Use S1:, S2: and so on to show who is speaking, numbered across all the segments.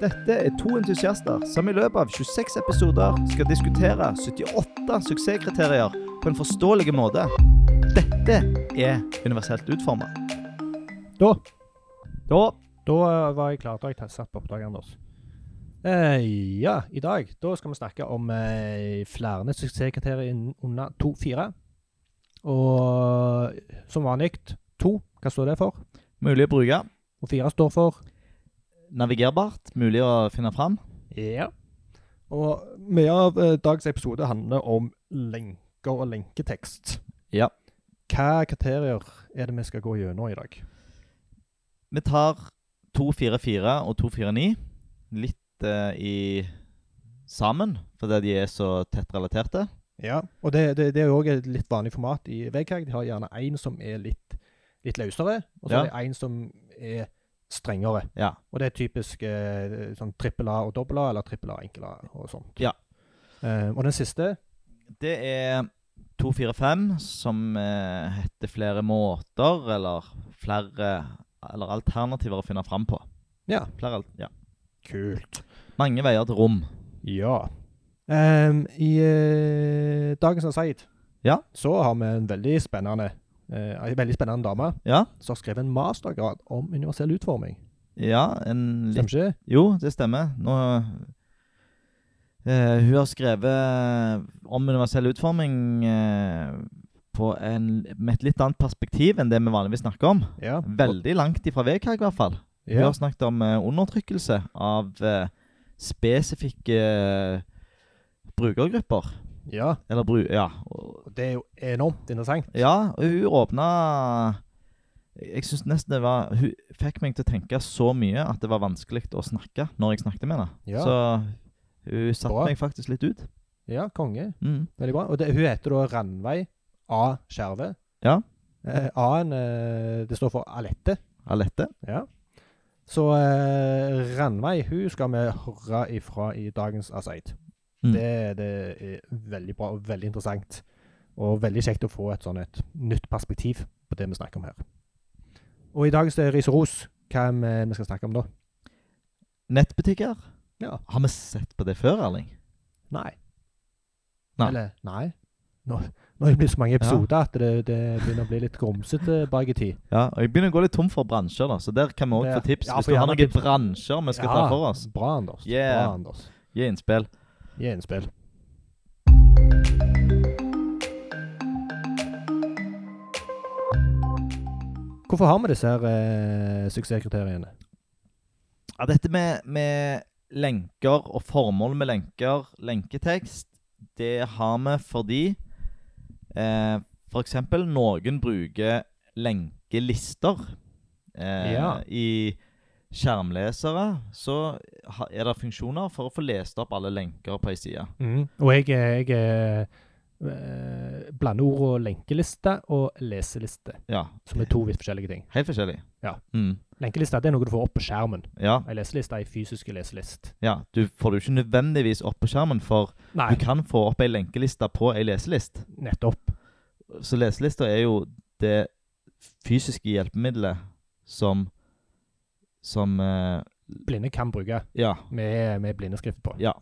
S1: Dette er to entusiaster som i løpet av 26 episoder skal diskutere 78 suksesskriterier på en forståelig måte. Dette er universelt utforma.
S2: Da,
S1: Da
S2: da eh, var jeg klar til å ha satt på oppdrag, Anders. Eh, ja, i dag da skal vi snakke om eh, flere suksesskriterier innen- under 2-4. Og som vanlig 2. Hva står det for?
S1: mulig å bruke,
S2: Og 4 står for
S1: navigerbart, mulig å finne fram.
S2: Ja. Og mye av eh, dagens episode handler om lenker og lenketekst.
S1: Ja.
S2: Hva kriterier er det vi skal gå gjennom i dag?
S1: Vi tar 244 og 249 litt eh, i sammen, fordi de er så tett relaterte.
S2: Ja, og det, det, det er jo òg et litt vanlig format i VKG. De har gjerne én som er litt, litt løsere, og så
S1: Ja.
S2: er det én som er strengere.
S1: Ja.
S2: Og det er typisk eh, sånn trippel A og dobbel A, eller trippel A enkel A og sånt.
S1: Ja.
S2: Eh, og den siste
S1: Det er 245, som eh, heter flere måter, eller flere Eller alternativer å finne fram på.
S2: Ja.
S1: Flere, al- ja.
S2: Kult.
S1: Mange veier til rom.
S2: Ja. Ehm, I eh, dagens Aside
S1: Ja.
S2: så har vi en veldig spennende eh, en veldig spennende dame
S1: Ja,
S2: som har skrevet en mastergrad om universell utforming.
S1: ja en litt
S2: Stemmer ikke?
S1: Jo, det stemmer. Nå, eh, hun har skrevet om universell utforming eh, på en, med et litt annet perspektiv enn det vi vanligvis snakker om.
S2: Ja.
S1: Veldig langt ifra VKG, i hvert fall. Vi
S2: Ja.
S1: har snakket om eh, undertrykkelse av eh, spesifikke eh, brukergrupper.
S2: ja.
S1: Eller bru... Ja. Og,
S2: Og det er jo enormt interessant.
S1: ja, og hun åpna Jeg syns nesten det var Hun fikk meg til å tenke så mye at det var vanskelig å snakke når jeg snakket med henne.
S2: Ja.
S1: Så hun satte
S2: Bra.
S1: meg faktisk litt ut.
S2: Ja, konge.
S1: Mm.
S2: Veldig bra. Og det, hun heter da Ranveig A. Skjerve.
S1: Ja.
S2: Eh, A-en eh, det står for Alette.
S1: Alette.
S2: Ja. Så eh, Ranveig hun skal vi høre ifra i dagens Aseid.
S1: Mm.
S2: Det, det er veldig bra og veldig interessant. Og veldig kjekt å få et sånn et nytt perspektiv på det vi snakker om her. Og i dagens eh, Ris og ros, hva er det vi skal snakke om da?
S1: Nettbutikker.
S2: Ja.
S1: Har vi sett på det før, Erling?
S2: Nei.
S1: Nei.
S2: Eller nei. Nå, nå har det blitt så mange episoder at det, det begynner å bli litt grumsete bak i tid.
S1: Ja, og Jeg begynner å gå litt tom for bransjer, da, så der kan vi òg
S2: Det-
S1: få tips.
S2: ja,
S1: Hvis
S2: for
S1: du har
S2: gjerne
S1: noen
S2: tips.
S1: bransjer vi skal ta for oss,
S2: Bra, Anders.
S1: Yeah.
S2: Bra, Anders.
S1: gi innspill.
S2: Gi innspill. Hvorfor har vi disse her eh, suksesskriteriene?
S1: Ja, dette med, med lenker og formål med lenker, lenketekst, det har vi fordi eh, f.eks. noen bruker lenkelister. Eh,
S2: Ja.
S1: I skjermlesere så ha- er det funksjoner for å få lest opp alle lenker på ei side.
S2: Og jeg, jeg eh, blander ord og lenkeliste og leseliste,
S1: Ja,
S2: som er to vidt forskjellige ting.
S1: helt forskjellig.
S2: Ja.
S1: Mm.
S2: Lenkeliste det er noe du får opp på skjermen.
S1: Ja,
S2: Ei leseliste er ei fysisk leselist.
S1: ja. Du får det jo ikke nødvendigvis opp på skjermen, for
S2: Nei,
S1: du kan få opp ei lenkeliste på ei leselist.
S2: nettopp.
S1: Så leselista er jo det fysiske hjelpemiddelet som Som eh,
S2: blinde kan bruke
S1: Ja.
S2: med, med blindeskrift på.
S1: Ja.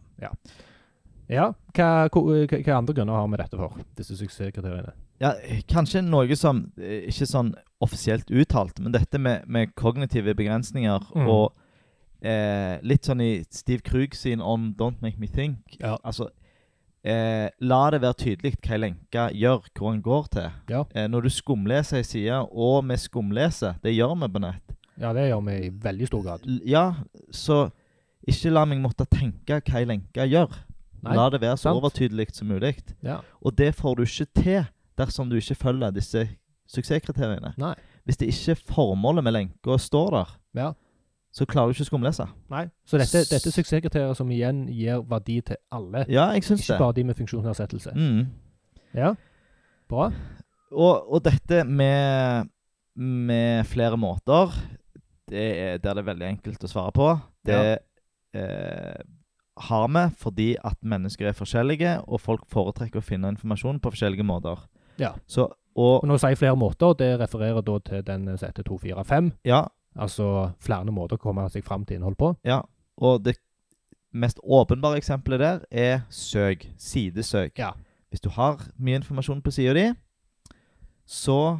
S2: Ja, hva, hva, hva andre grunner har vi dette for, disse suksesskriteriene?
S1: ja kanskje noe som eh, ikke sånn offisielt uttalt, men dette med, med kognitive begrensninger
S2: Mm.
S1: og eh, litt sånn i Steve Krug sin On Don't Make Me Think
S2: Ja.
S1: Altså eh, La det være tydelig hva ei lenke gjør, hvor den går til.
S2: Ja.
S1: Eh, når du skumleser ei side, og vi skumleser, det gjør vi på nett,
S2: Ja, det gjør vi i veldig stor grad.
S1: L- Ja, så ikke la meg måtte tenke hva ei lenke gjør.
S2: Nei,
S1: la det være så
S2: sant.
S1: overtydelig som mulig.
S2: Ja.
S1: Og det får du ikke til dersom du ikke følger disse suksesskriteriene.
S2: Nei.
S1: Hvis det ikke er formålet med lenka står der,
S2: Ja.
S1: så klarer du ikke å skumlese.
S2: Nei. Så dette, dette er suksesskriterier som igjen gir verdi til alle,
S1: Ja, jeg syns
S2: ikke
S1: det.
S2: bare de med funksjonsnedsettelse.
S1: Mm.
S2: Ja, bra.
S1: Og, og dette med, med flere måter, det er der det er veldig enkelt å svare på. Det eh, har vi fordi at mennesker er forskjellige, og folk foretrekker å finne informasjon på forskjellige måter.
S2: Ja.
S1: Så,
S2: Og
S1: og
S2: når jeg sier flere måter, det refererer da til den som heter 245,
S1: ja,
S2: altså flere måter å komme seg fram til innhold på.
S1: ja. Og det mest åpenbare eksempelet der er søk. Sidesøk.
S2: Ja.
S1: Hvis du har mye informasjon på sida di, så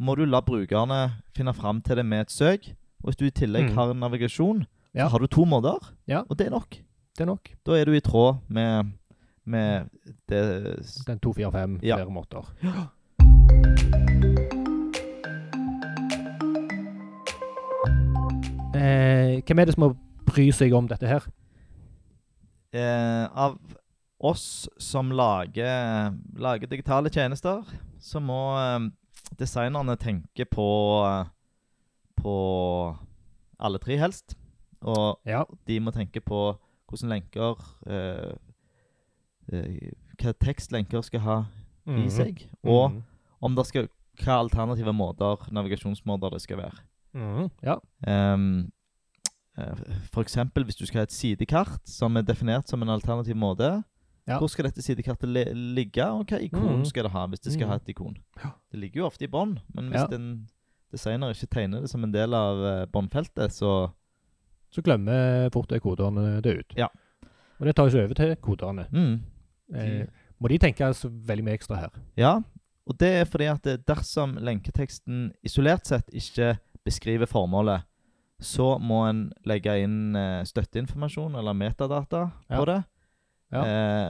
S1: må du la brukerne finne fram til det med et søk. Og hvis du i tillegg
S2: Mm.
S1: har en navigasjon,
S2: Ja.
S1: så har du to måter,
S2: Ja.
S1: og det er nok.
S2: Det er nok.
S1: Da er du i tråd med, med det s-
S2: Den 245
S1: Ja.
S2: flere måter. Eh, hvem er det som må bry seg om dette her?
S1: eh, Av oss som lager, lager digitale tjenester, så må eh, designerne tenke på eh, På alle tre, helst. Og
S2: Ja.
S1: de må tenke på hvordan lenker eh, eh, Hva tekst lenker skal ha i seg. Og
S2: Mhm.
S1: om det skal, hva alternative måter, navigasjonsmåter det skal være.
S2: Mhm. Ja.
S1: Ehm, eh, for eksempel hvis du skal ha et sidekart som er definert som en alternativ måte.
S2: Ja.
S1: Hvor skal dette sidekartet li ligge, og hva ikon
S2: Mhm.
S1: skal det ha? hvis det skal
S2: Mhm.
S1: ha et ikon?
S2: Ja.
S1: Det ligger jo ofte i bånd, men hvis
S2: Ja.
S1: en designer ikke tegner det som en del av eh, båndfeltet, så
S2: Så glemmer fort det koderne det ut.
S1: Ja.
S2: Og det tar jo så over til koderne.
S1: mm,
S2: Eh, må de tenke så veldig mye ekstra her?
S1: Ja. Og det er fordi at det- dersom lenketeksten isolert sett ikke beskriver formålet, så må en legge inn eh, støtteinformasjon eller metadata
S2: Ja.
S1: på det.
S2: Ja.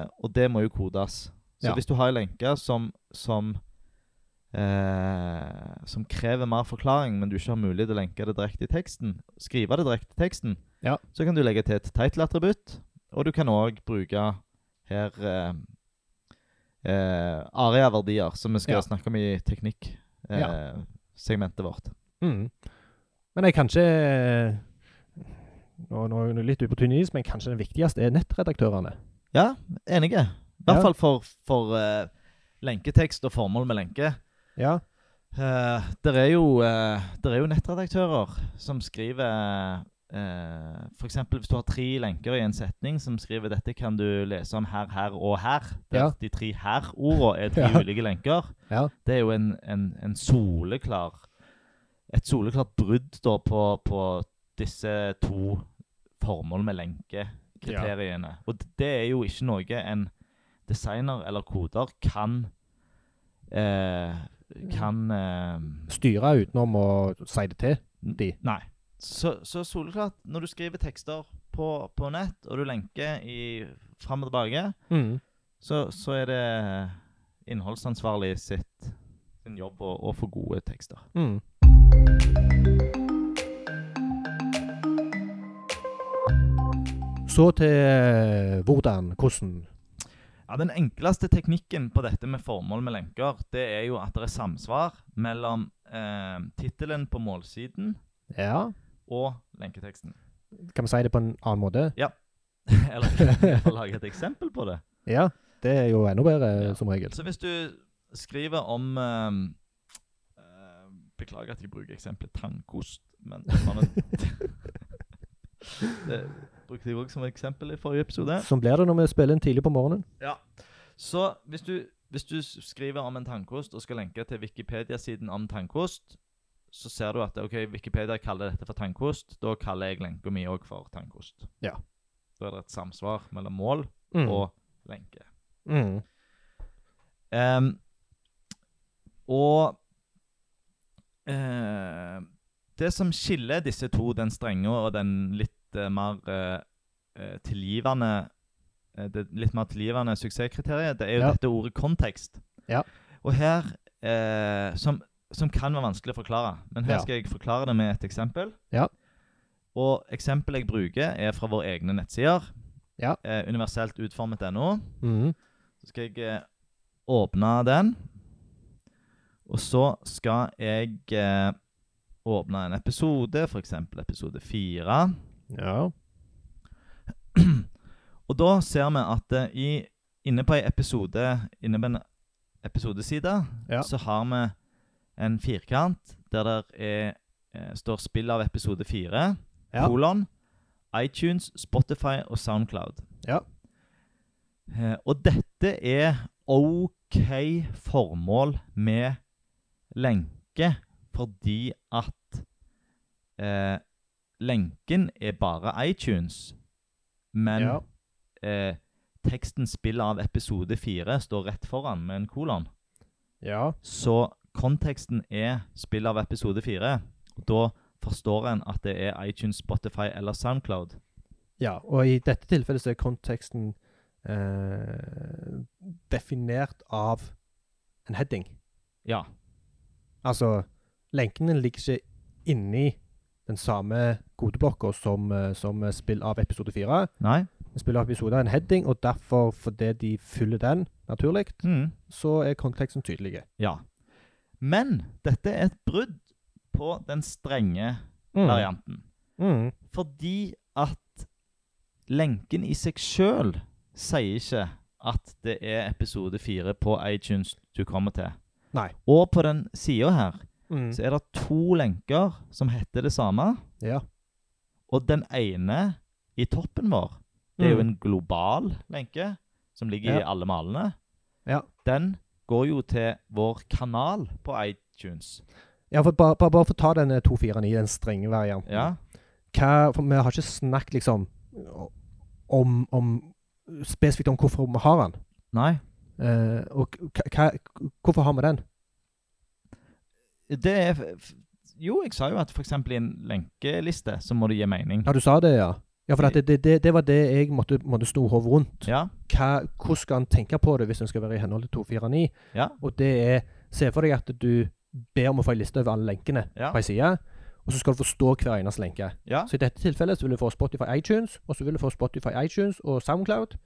S1: Eh, og det må jo kodes. Så
S2: Ja.
S1: hvis du har en lenke som, som eh, som krever mer forklaring, men du ikke har mulighet til å lenke det direkte i teksten, skrive det direkte i teksten,
S2: Ja.
S1: så kan du legge til et title-attributt, og du kan òg bruke her eh, eh, areaverdier, som vi skal
S2: Ja.
S1: snakke om i teknikk-segmentet vårt.
S2: Mhm. Men jeg kanskje eh, nå, nå er jeg litt ute på tynn is, men kanskje den viktigste er nettredaktørene.
S1: Ja, enige. I hvert
S2: Ja.
S1: fall for, for eh, lenketekst og formål med lenke.
S2: Ja.
S1: Eh, der, er jo, eh, der er jo nettredaktører som skriver eh, For F.eks. hvis du har tre lenker i en setning som skriver 'dette kan du lese om her, her og her', der
S2: Ja.
S1: de tre her-ordene er tre
S2: Ja.
S1: ulike lenker,
S2: Ja.
S1: det er jo en, en, en soleklar Et soleklart brudd da på, på disse to formål med lenkekriteriene. Og d- det er jo ikke noe en designer eller koder kan eh, kan eh,
S2: Styre utenom å si det til. De.
S1: Nei. Så, så soleklart, når du skriver tekster på, på nett, og du lenker i, fram og tilbake, så, så er det innholdsansvarlig sitt sin jobb å, å få gode tekster.
S2: Mm. Så til hvordan, hvordan.
S1: Ja, Den enkleste teknikken på dette med formål med lenker, det er jo at det er samsvar mellom eh, tittelen på målsiden
S2: Ja.
S1: og lenketeksten.
S2: Kan vi si det på en annen måte?
S1: Eller kan jeg få lage et eksempel på det?
S2: Ja. Det er jo enda bedre,
S1: Ja.
S2: som regel.
S1: Så hvis du skriver om ehm, eh, Beklager at jeg bruker eksempelet tannkost, men det var en- Det brukte jeg òg som eksempel i forrige episode.
S2: Sånn blir det når vi spiller inn tidlig på morgenen.
S1: Ja. Så hvis du, hvis du s- skriver om en tannkost og skal lenke til Wikipedia-siden om tannkost, så ser du at ok, Wikipedia kaller dette for tannkost. Da kaller jeg lenka mi òg for tannkost.
S2: Ja.
S1: Da er det et samsvar mellom mål og lenke.
S2: Mm.
S1: Ehm, og eh, Det som skiller disse to, den strenge og den litt eh, mer eh, eh, tilgivende eh, Det litt mer tilgivende suksesskriteriet, det er jo
S2: Ja.
S1: dette ordet kontekst.
S2: Ja.
S1: Og her eh, som, som kan være vanskelig å forklare, men her
S2: Ja.
S1: skal jeg forklare det med et eksempel.
S2: Ja.
S1: Og eksempelet jeg bruker, er fra våre egne nettsider.
S2: Ja.
S1: Eh, universelt utformet.no.
S2: Mm.
S1: Så skal jeg eh, åpne den. Og så skal jeg eh, åpne en episode, f.eks. episode fire.
S2: Ja.
S1: Og da ser vi at eh, i, inne på ei episode, inne på en episodeside,
S2: Ja.
S1: så har vi en firkant der det er, eh, står 'spill av episode fire',
S2: Ja.
S1: kolon, iTunes, Spotify og Soundcloud.
S2: Ja.
S1: Eh, og dette er OK formål med lenke, fordi at eh, lenken er bare iTunes, men
S2: Ja.
S1: eh, teksten 'spill av episode 4' står rett foran med en kolon.
S2: ja.
S1: Så konteksten er 'spill av episode 4'. og Da forstår en at det er iTunes, Spotify eller SoundCloud.
S2: Ja, og i dette tilfellet så er konteksten eh, definert av en heading.
S1: Ja.
S2: Altså, lenkene ligger ikke inni den samme kodeblokka som, eh, som spill av episode fire.
S1: Nei?
S2: Spill av episode er en heading, og derfor, fordi de fyller den naturlig,
S1: Mm.
S2: så er konteksten tydelig.
S1: Ja. Men dette er et brudd på den strenge varianten.
S2: Mm.
S1: Fordi at lenken i seg sjøl sier ikke at det er episode fire på iTunes du kommer til.
S2: Nei.
S1: Og på den sida her
S2: Mm.
S1: så er det to lenker som heter det samme.
S2: Ja.
S1: Og den ene i toppen vår, det er jo
S2: Mm.
S1: en global lenke som ligger i
S2: Ja.
S1: alle malene.
S2: Ja.
S1: Den går jo til vår kanal på iTunes.
S2: Ja, for bare, bare, bare for å ta den 249, den strenge varianten.
S1: Ja.
S2: hva, for vi har ikke snakket liksom om, om spesifikt om hvorfor vi har den.
S1: Nei.
S2: Eh, og hva, hva- hvorfor har vi den?
S1: Det er f- f- Jo, jeg sa jo at f.eks. i en lenkeliste så må det gi mening.
S2: Ja, du sa det, ja. Ja, for at det, det, det, det var det jeg måtte, måtte sno hodet rundt.
S1: Ja.
S2: Hva, hvordan skal en tenke på det hvis en skal være i henhold til 249?
S1: Ja.
S2: Og det er Se for deg at du ber om å få en liste over alle lenkene
S1: Ja.
S2: på ei side, og så skal du forstå hver eneste lenke.
S1: ja.
S2: Så i dette tilfellet så vil du få Spotify iTunes, og så vil du få Spotify iTunes og SoundCloud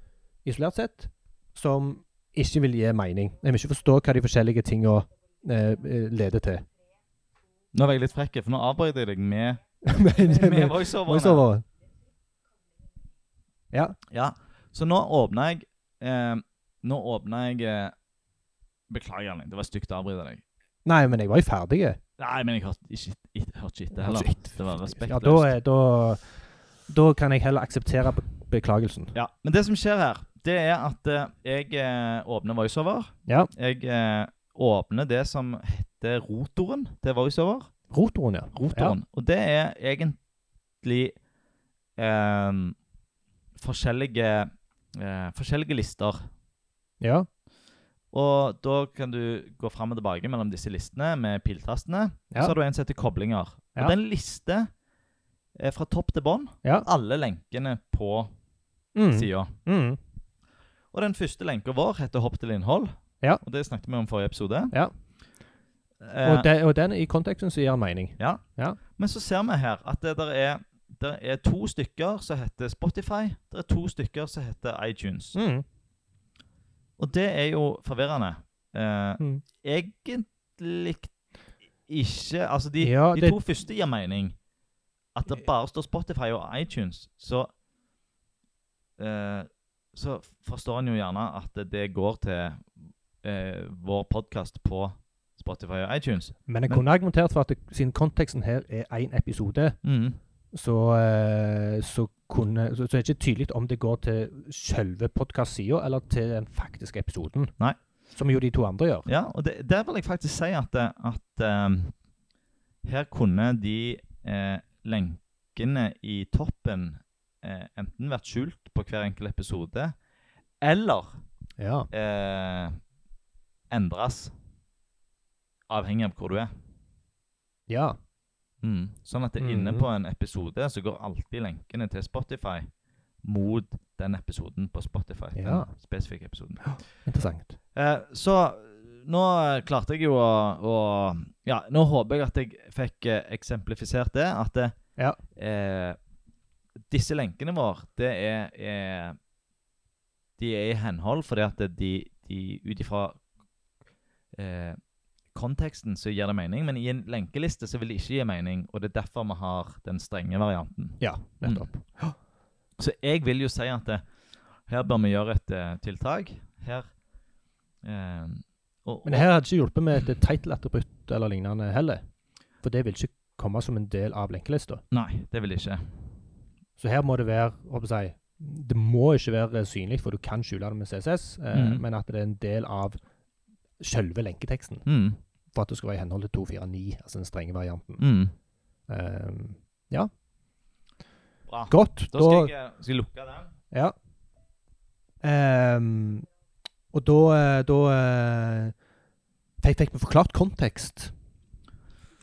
S2: isolert sett, som ikke vil gi mening. Jeg vil ikke forstå hva de forskjellige tinga eh, eh, leder til.
S1: Nå var jeg litt frekk, for nå avbrøt jeg deg med,
S2: Men-
S1: med
S2: men-
S1: voiceoverne.
S2: voiceover. Ja.
S1: Ja. Så nå åpna jeg eh, Nå åpna jeg eh, Beklager, Erling, det var stygt å avbryte deg.
S2: Nei, men jeg var jo ferdig.
S1: Nei, men jeg hørte ikke ikke- hørte ikke etter
S2: Hørte
S1: heller.
S2: ikke
S1: Det var
S2: Ja, da,
S1: respektløst.
S2: er, da, da kan jeg heller akseptere be- beklagelsen.
S1: Ja, men det som skjer her, det er at eh, jeg eh, åpner voiceover.
S2: Ja.
S1: Jeg eh, åpner det som heter rotoren til voiceover.
S2: Rotoren, ja.
S1: rotoren. Og det er egentlig eh, forskjellige, eh, forskjellige lister.
S2: Ja.
S1: Og da kan du gå fram og tilbake mellom disse listene med piltastene.
S2: Ja.
S1: Så har du en som heter koblinger.
S2: Ja.
S1: Og den liste er fra topp til bånn
S2: Ja.
S1: alle lenkene på
S2: Mm.
S1: sida.
S2: Mm.
S1: Og den første lenka vår heter 'hopp til innhold'.
S2: Ja.
S1: Og det snakket vi om i forrige episode.
S2: Ja.
S1: Eh,
S2: Og, de, og den i konteksten så gir den mening.
S1: Men så ser vi her at det der er, der er to stykker som heter Spotify. Det er to stykker som heter iTunes.
S2: Mm.
S1: Og det er jo forvirrende. Eh,
S2: Mm.
S1: egentlig ikke Altså, de,
S2: Ja,
S1: de
S2: det- Eh.
S1: to første gir mening. At det bare står Spotify og iTunes, så eh, Så forstår en jo gjerne at det går til eh, vår podkast på Spotify og iTunes.
S2: Men jeg
S1: Men-
S2: kunne argumentert for at det, siden konteksten her er én episode,
S1: Mm.
S2: så, eh, så, kunne, så, så er det ikke tydelig om det går til selve podkast-sida eller til den faktiske episoden.
S1: Nei.
S2: Som jo de to andre gjør.
S1: Ja, og det, der vil jeg faktisk si at, eh, at ehm, her kunne de eh, lenkene i toppen eh, enten vært skjult på hver enkelt episode, eller
S2: Ja.
S1: eh, endres avhengig av hvor du er.
S2: ja.
S1: Mm. Sånn at det er inne
S2: Mhm.
S1: på en episode så går alltid lenkene til Spotify mot den episoden på Spotify.
S2: Ja.
S1: Den spesifikke episoden.
S2: Interessant.
S1: Eh, så nå eh, klarte jeg jo å, å Ja, nå håper jeg at jeg fikk eh, eksemplifisert det. At eh,
S2: Ja.
S1: eh, disse lenkene våre, det er, er De er i henhold fordi at de, de ut ifra eh, konteksten så gir det mening, men i en lenkeliste så vil det ikke gi mening, og det er derfor vi har den strenge varianten.
S2: Ja, nettopp.
S1: Så jeg vil jo si at eh, her bør vi gjøre et eh, tiltak. Her eh, og,
S2: Men her hadde det ikke hjulpet med et title-attributt eller lignende heller. For det vil ikke komme som en del av lenkelista.
S1: og- Nei, det vil jeg ikke.
S2: Så her må det være hva skal jeg si, Det må ikke være synlig, for du kan skjule det med CSS, eh,
S1: Mhm.
S2: men at det er en del av selve lenketeksten.
S1: Mm,
S2: for at det skal være i henhold til 249, altså den strenge varianten.
S1: mm.
S2: Ehm,
S1: Bra.
S2: Godt.
S1: Da skal jeg, eh, skal jeg lukke den.
S2: Ja. Ehm, og da, eh, da eh, fikk, fikk vi forklart kontekst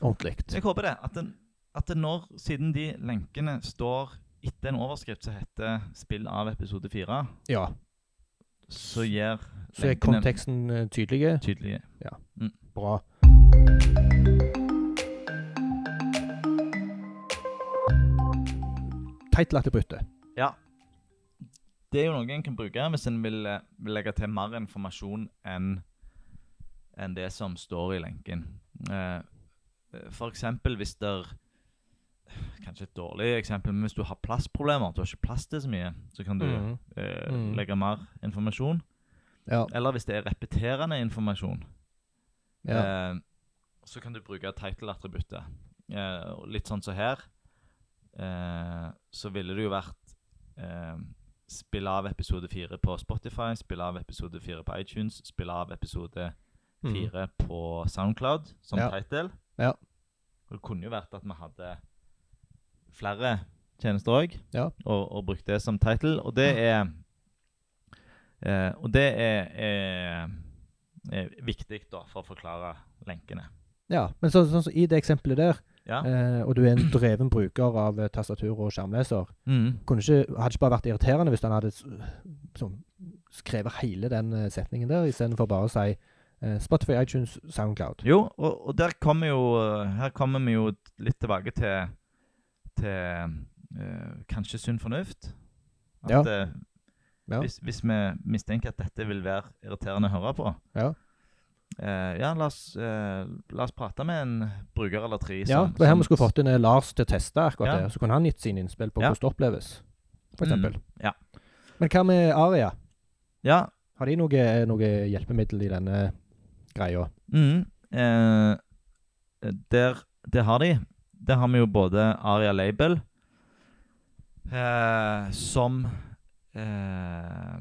S2: ordentlig.
S1: Jeg håper det. At, den, at det når, siden de lenkene står etter en overskrift som heter 'Spill av episode 4',
S2: Ja.
S1: så gir
S2: Så er
S1: lenkene
S2: konteksten eh, tydelig.
S1: tydelige
S2: Bra. Teitlattebruttet.
S1: Ja. Det er jo noe en kan bruke hvis en vil, eh, vil legge til mer informasjon enn enn det som står i lenken. Eh, for eksempel hvis der Kanskje et dårlig eksempel, men hvis du har plassproblemer, du har ikke plass til så mye, så kan du
S2: Mhm.
S1: eh,
S2: Mhm.
S1: legge mer informasjon.
S2: Ja.
S1: Eller hvis det er repeterende informasjon,
S2: ja.
S1: Eh, så kan du bruke title-attributtet. Eh, og litt sånn som her, eh, så ville det jo vært eh, Spill av episode 4 på Spotify, spill av episode 4 på iTunes, spill av episode 4 på Soundcloud som
S2: Mm. Ja.
S1: title.
S2: Ja.
S1: Og det kunne jo vært at vi hadde flere tjenester òg,
S2: Ja.
S1: og, og brukt det som title. Og det er eh, Og det er, er, er viktig da, for å forklare lenkene.
S2: ja. Men så, sånn som i det eksempelet der,
S1: Ja.
S2: eh, og du er en dreven bruker av eh, tastatur og skjermleser,
S1: Mm.
S2: kunne ikke, hadde ikke bare vært irriterende hvis han hadde s- sånn, skrevet hele den eh, setningen der, istedenfor bare å si eh, Spotify, iTunes, Soundcloud.
S1: Jo, og, og der kommer jo eh, Her kommer vi jo litt tilbake til Til eh, kanskje sunn fornuft. At
S2: Ja.
S1: eh,
S2: Ja.
S1: Hvis, hvis vi mistenker at dette vil være irriterende å høre på
S2: Ja.
S1: eh, ja, la oss, eh, la oss prate med en bruker eller tre.
S2: Ja,
S1: som-
S2: det var her
S1: som-
S2: vi skulle fått inn eh, Lars til å teste akkurat
S1: sånn Ja.
S2: det. Så kunne han gitt sine innspill på
S1: Ja. Mm,
S2: hvordan det oppleves, for eksempel.
S1: ja.
S2: Men hva med Aria?
S1: Ja,
S2: Har de noe, noe hjelpemiddel i denne greia?
S1: Mm, eh, der, det har de. Der har vi jo både Aria Label, eh, som eh,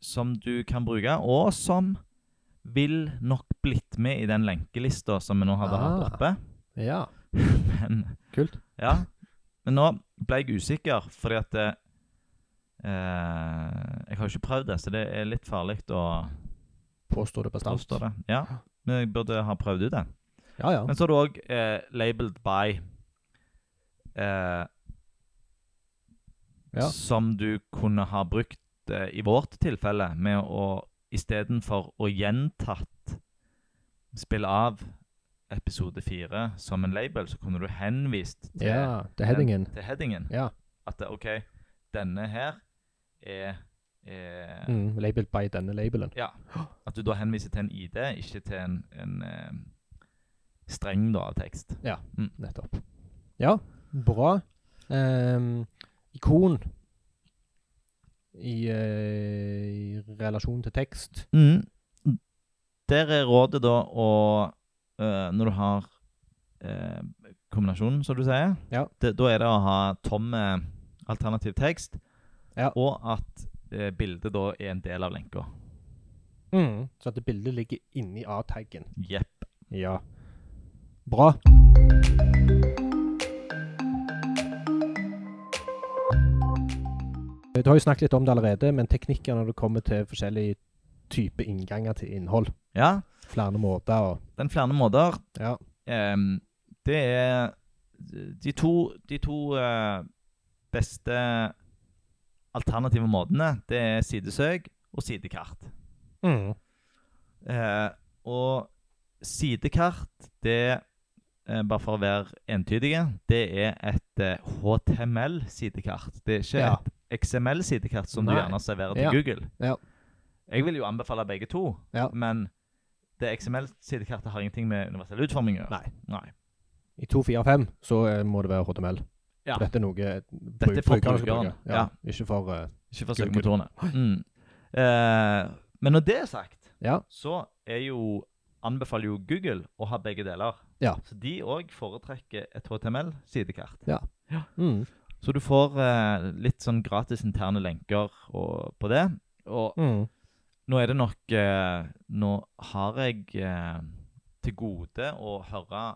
S1: Som du kan bruke, og som vil nok blitt med i den lenkelista som vi nå hadde hatt
S2: Ah.
S1: oppe.
S2: Ja.
S1: Men
S2: Kult.
S1: ja. Men nå ble jeg usikker, fordi at eh, Jeg har jo ikke prøvd det, så det er litt farlig å
S2: Påstår det bastant.
S1: påstå det. Ja. Men jeg burde ha prøvd ut det.
S2: Ja, ja.
S1: Men så har du òg eh, Labeled by, eh,
S2: Ja.
S1: som du kunne ha brukt eh, i vårt tilfelle, med å istedenfor å gjentatt spille av episode fire som en label, så kunne du henvist til,
S2: ja. Det er headingen.
S1: til headingen.
S2: Ja.
S1: At det, OK, denne her er, er
S2: Mm, labeled by denne labelen.
S1: Ja. At du da henviser til en ID, ikke til en, en eh, streng da, tekst.
S2: Nettopp. Ja, bra. Ehm, ikon i, eh, i relasjon til tekst.
S1: Mm. Der er rådet da å eh, Når du har eh, kombinasjonen, som du sier,
S2: Ja.
S1: det, da er det å ha tom eh, alternativ tekst,
S2: Ja.
S1: og at eh, bildet da er en del av lenka. Mm.
S2: Så at det bildet ligger inni A-taggen.
S1: Jepp.
S2: Ja. Bra. Du har jo snakket litt om det allerede, men teknikker når det kommer til forskjellige typer innganger til innhold.
S1: Ja,
S2: Flere måter og
S1: den flere måter.
S2: Ja.
S1: Ehm, det er de to, de to eh, beste alternative måtene. Det er sidesøk og sidekart. Mm. Eh, og sidekart, det eh, Bare for å være entydige, det er et eh, HTML-sidekart. Det er ikke
S2: Ja.
S1: et XML-sidekart som du
S2: Nei.
S1: gjerne serverer til
S2: Ja.
S1: Google.
S2: Ja.
S1: Jeg vil jo anbefale begge to,
S2: Ja.
S1: men det XML-sidekartet har ingenting med universell utforming å gjøre.
S2: Nei.
S1: Nei.
S2: I 245 så eh, må det være HTML.
S1: Ja.
S2: For Dette er noe
S1: Dette er for
S2: brukerne skal
S1: brukeren,
S2: bruke. Ja.
S1: ja.
S2: Ikke for eh,
S1: Ikke for
S2: Google.
S1: søkemotorene. Mm. Eh, men når det er sagt,
S2: Ja.
S1: så er jo anbefaler jo Google å ha begge deler.
S2: Ja.
S1: Så de òg foretrekker et HTML-sidekart.
S2: mm,
S1: Så du får eh, litt sånn gratis interne lenker og, på det. Og
S2: mm,
S1: nå er det nok eh, Nå har jeg eh, til gode å høre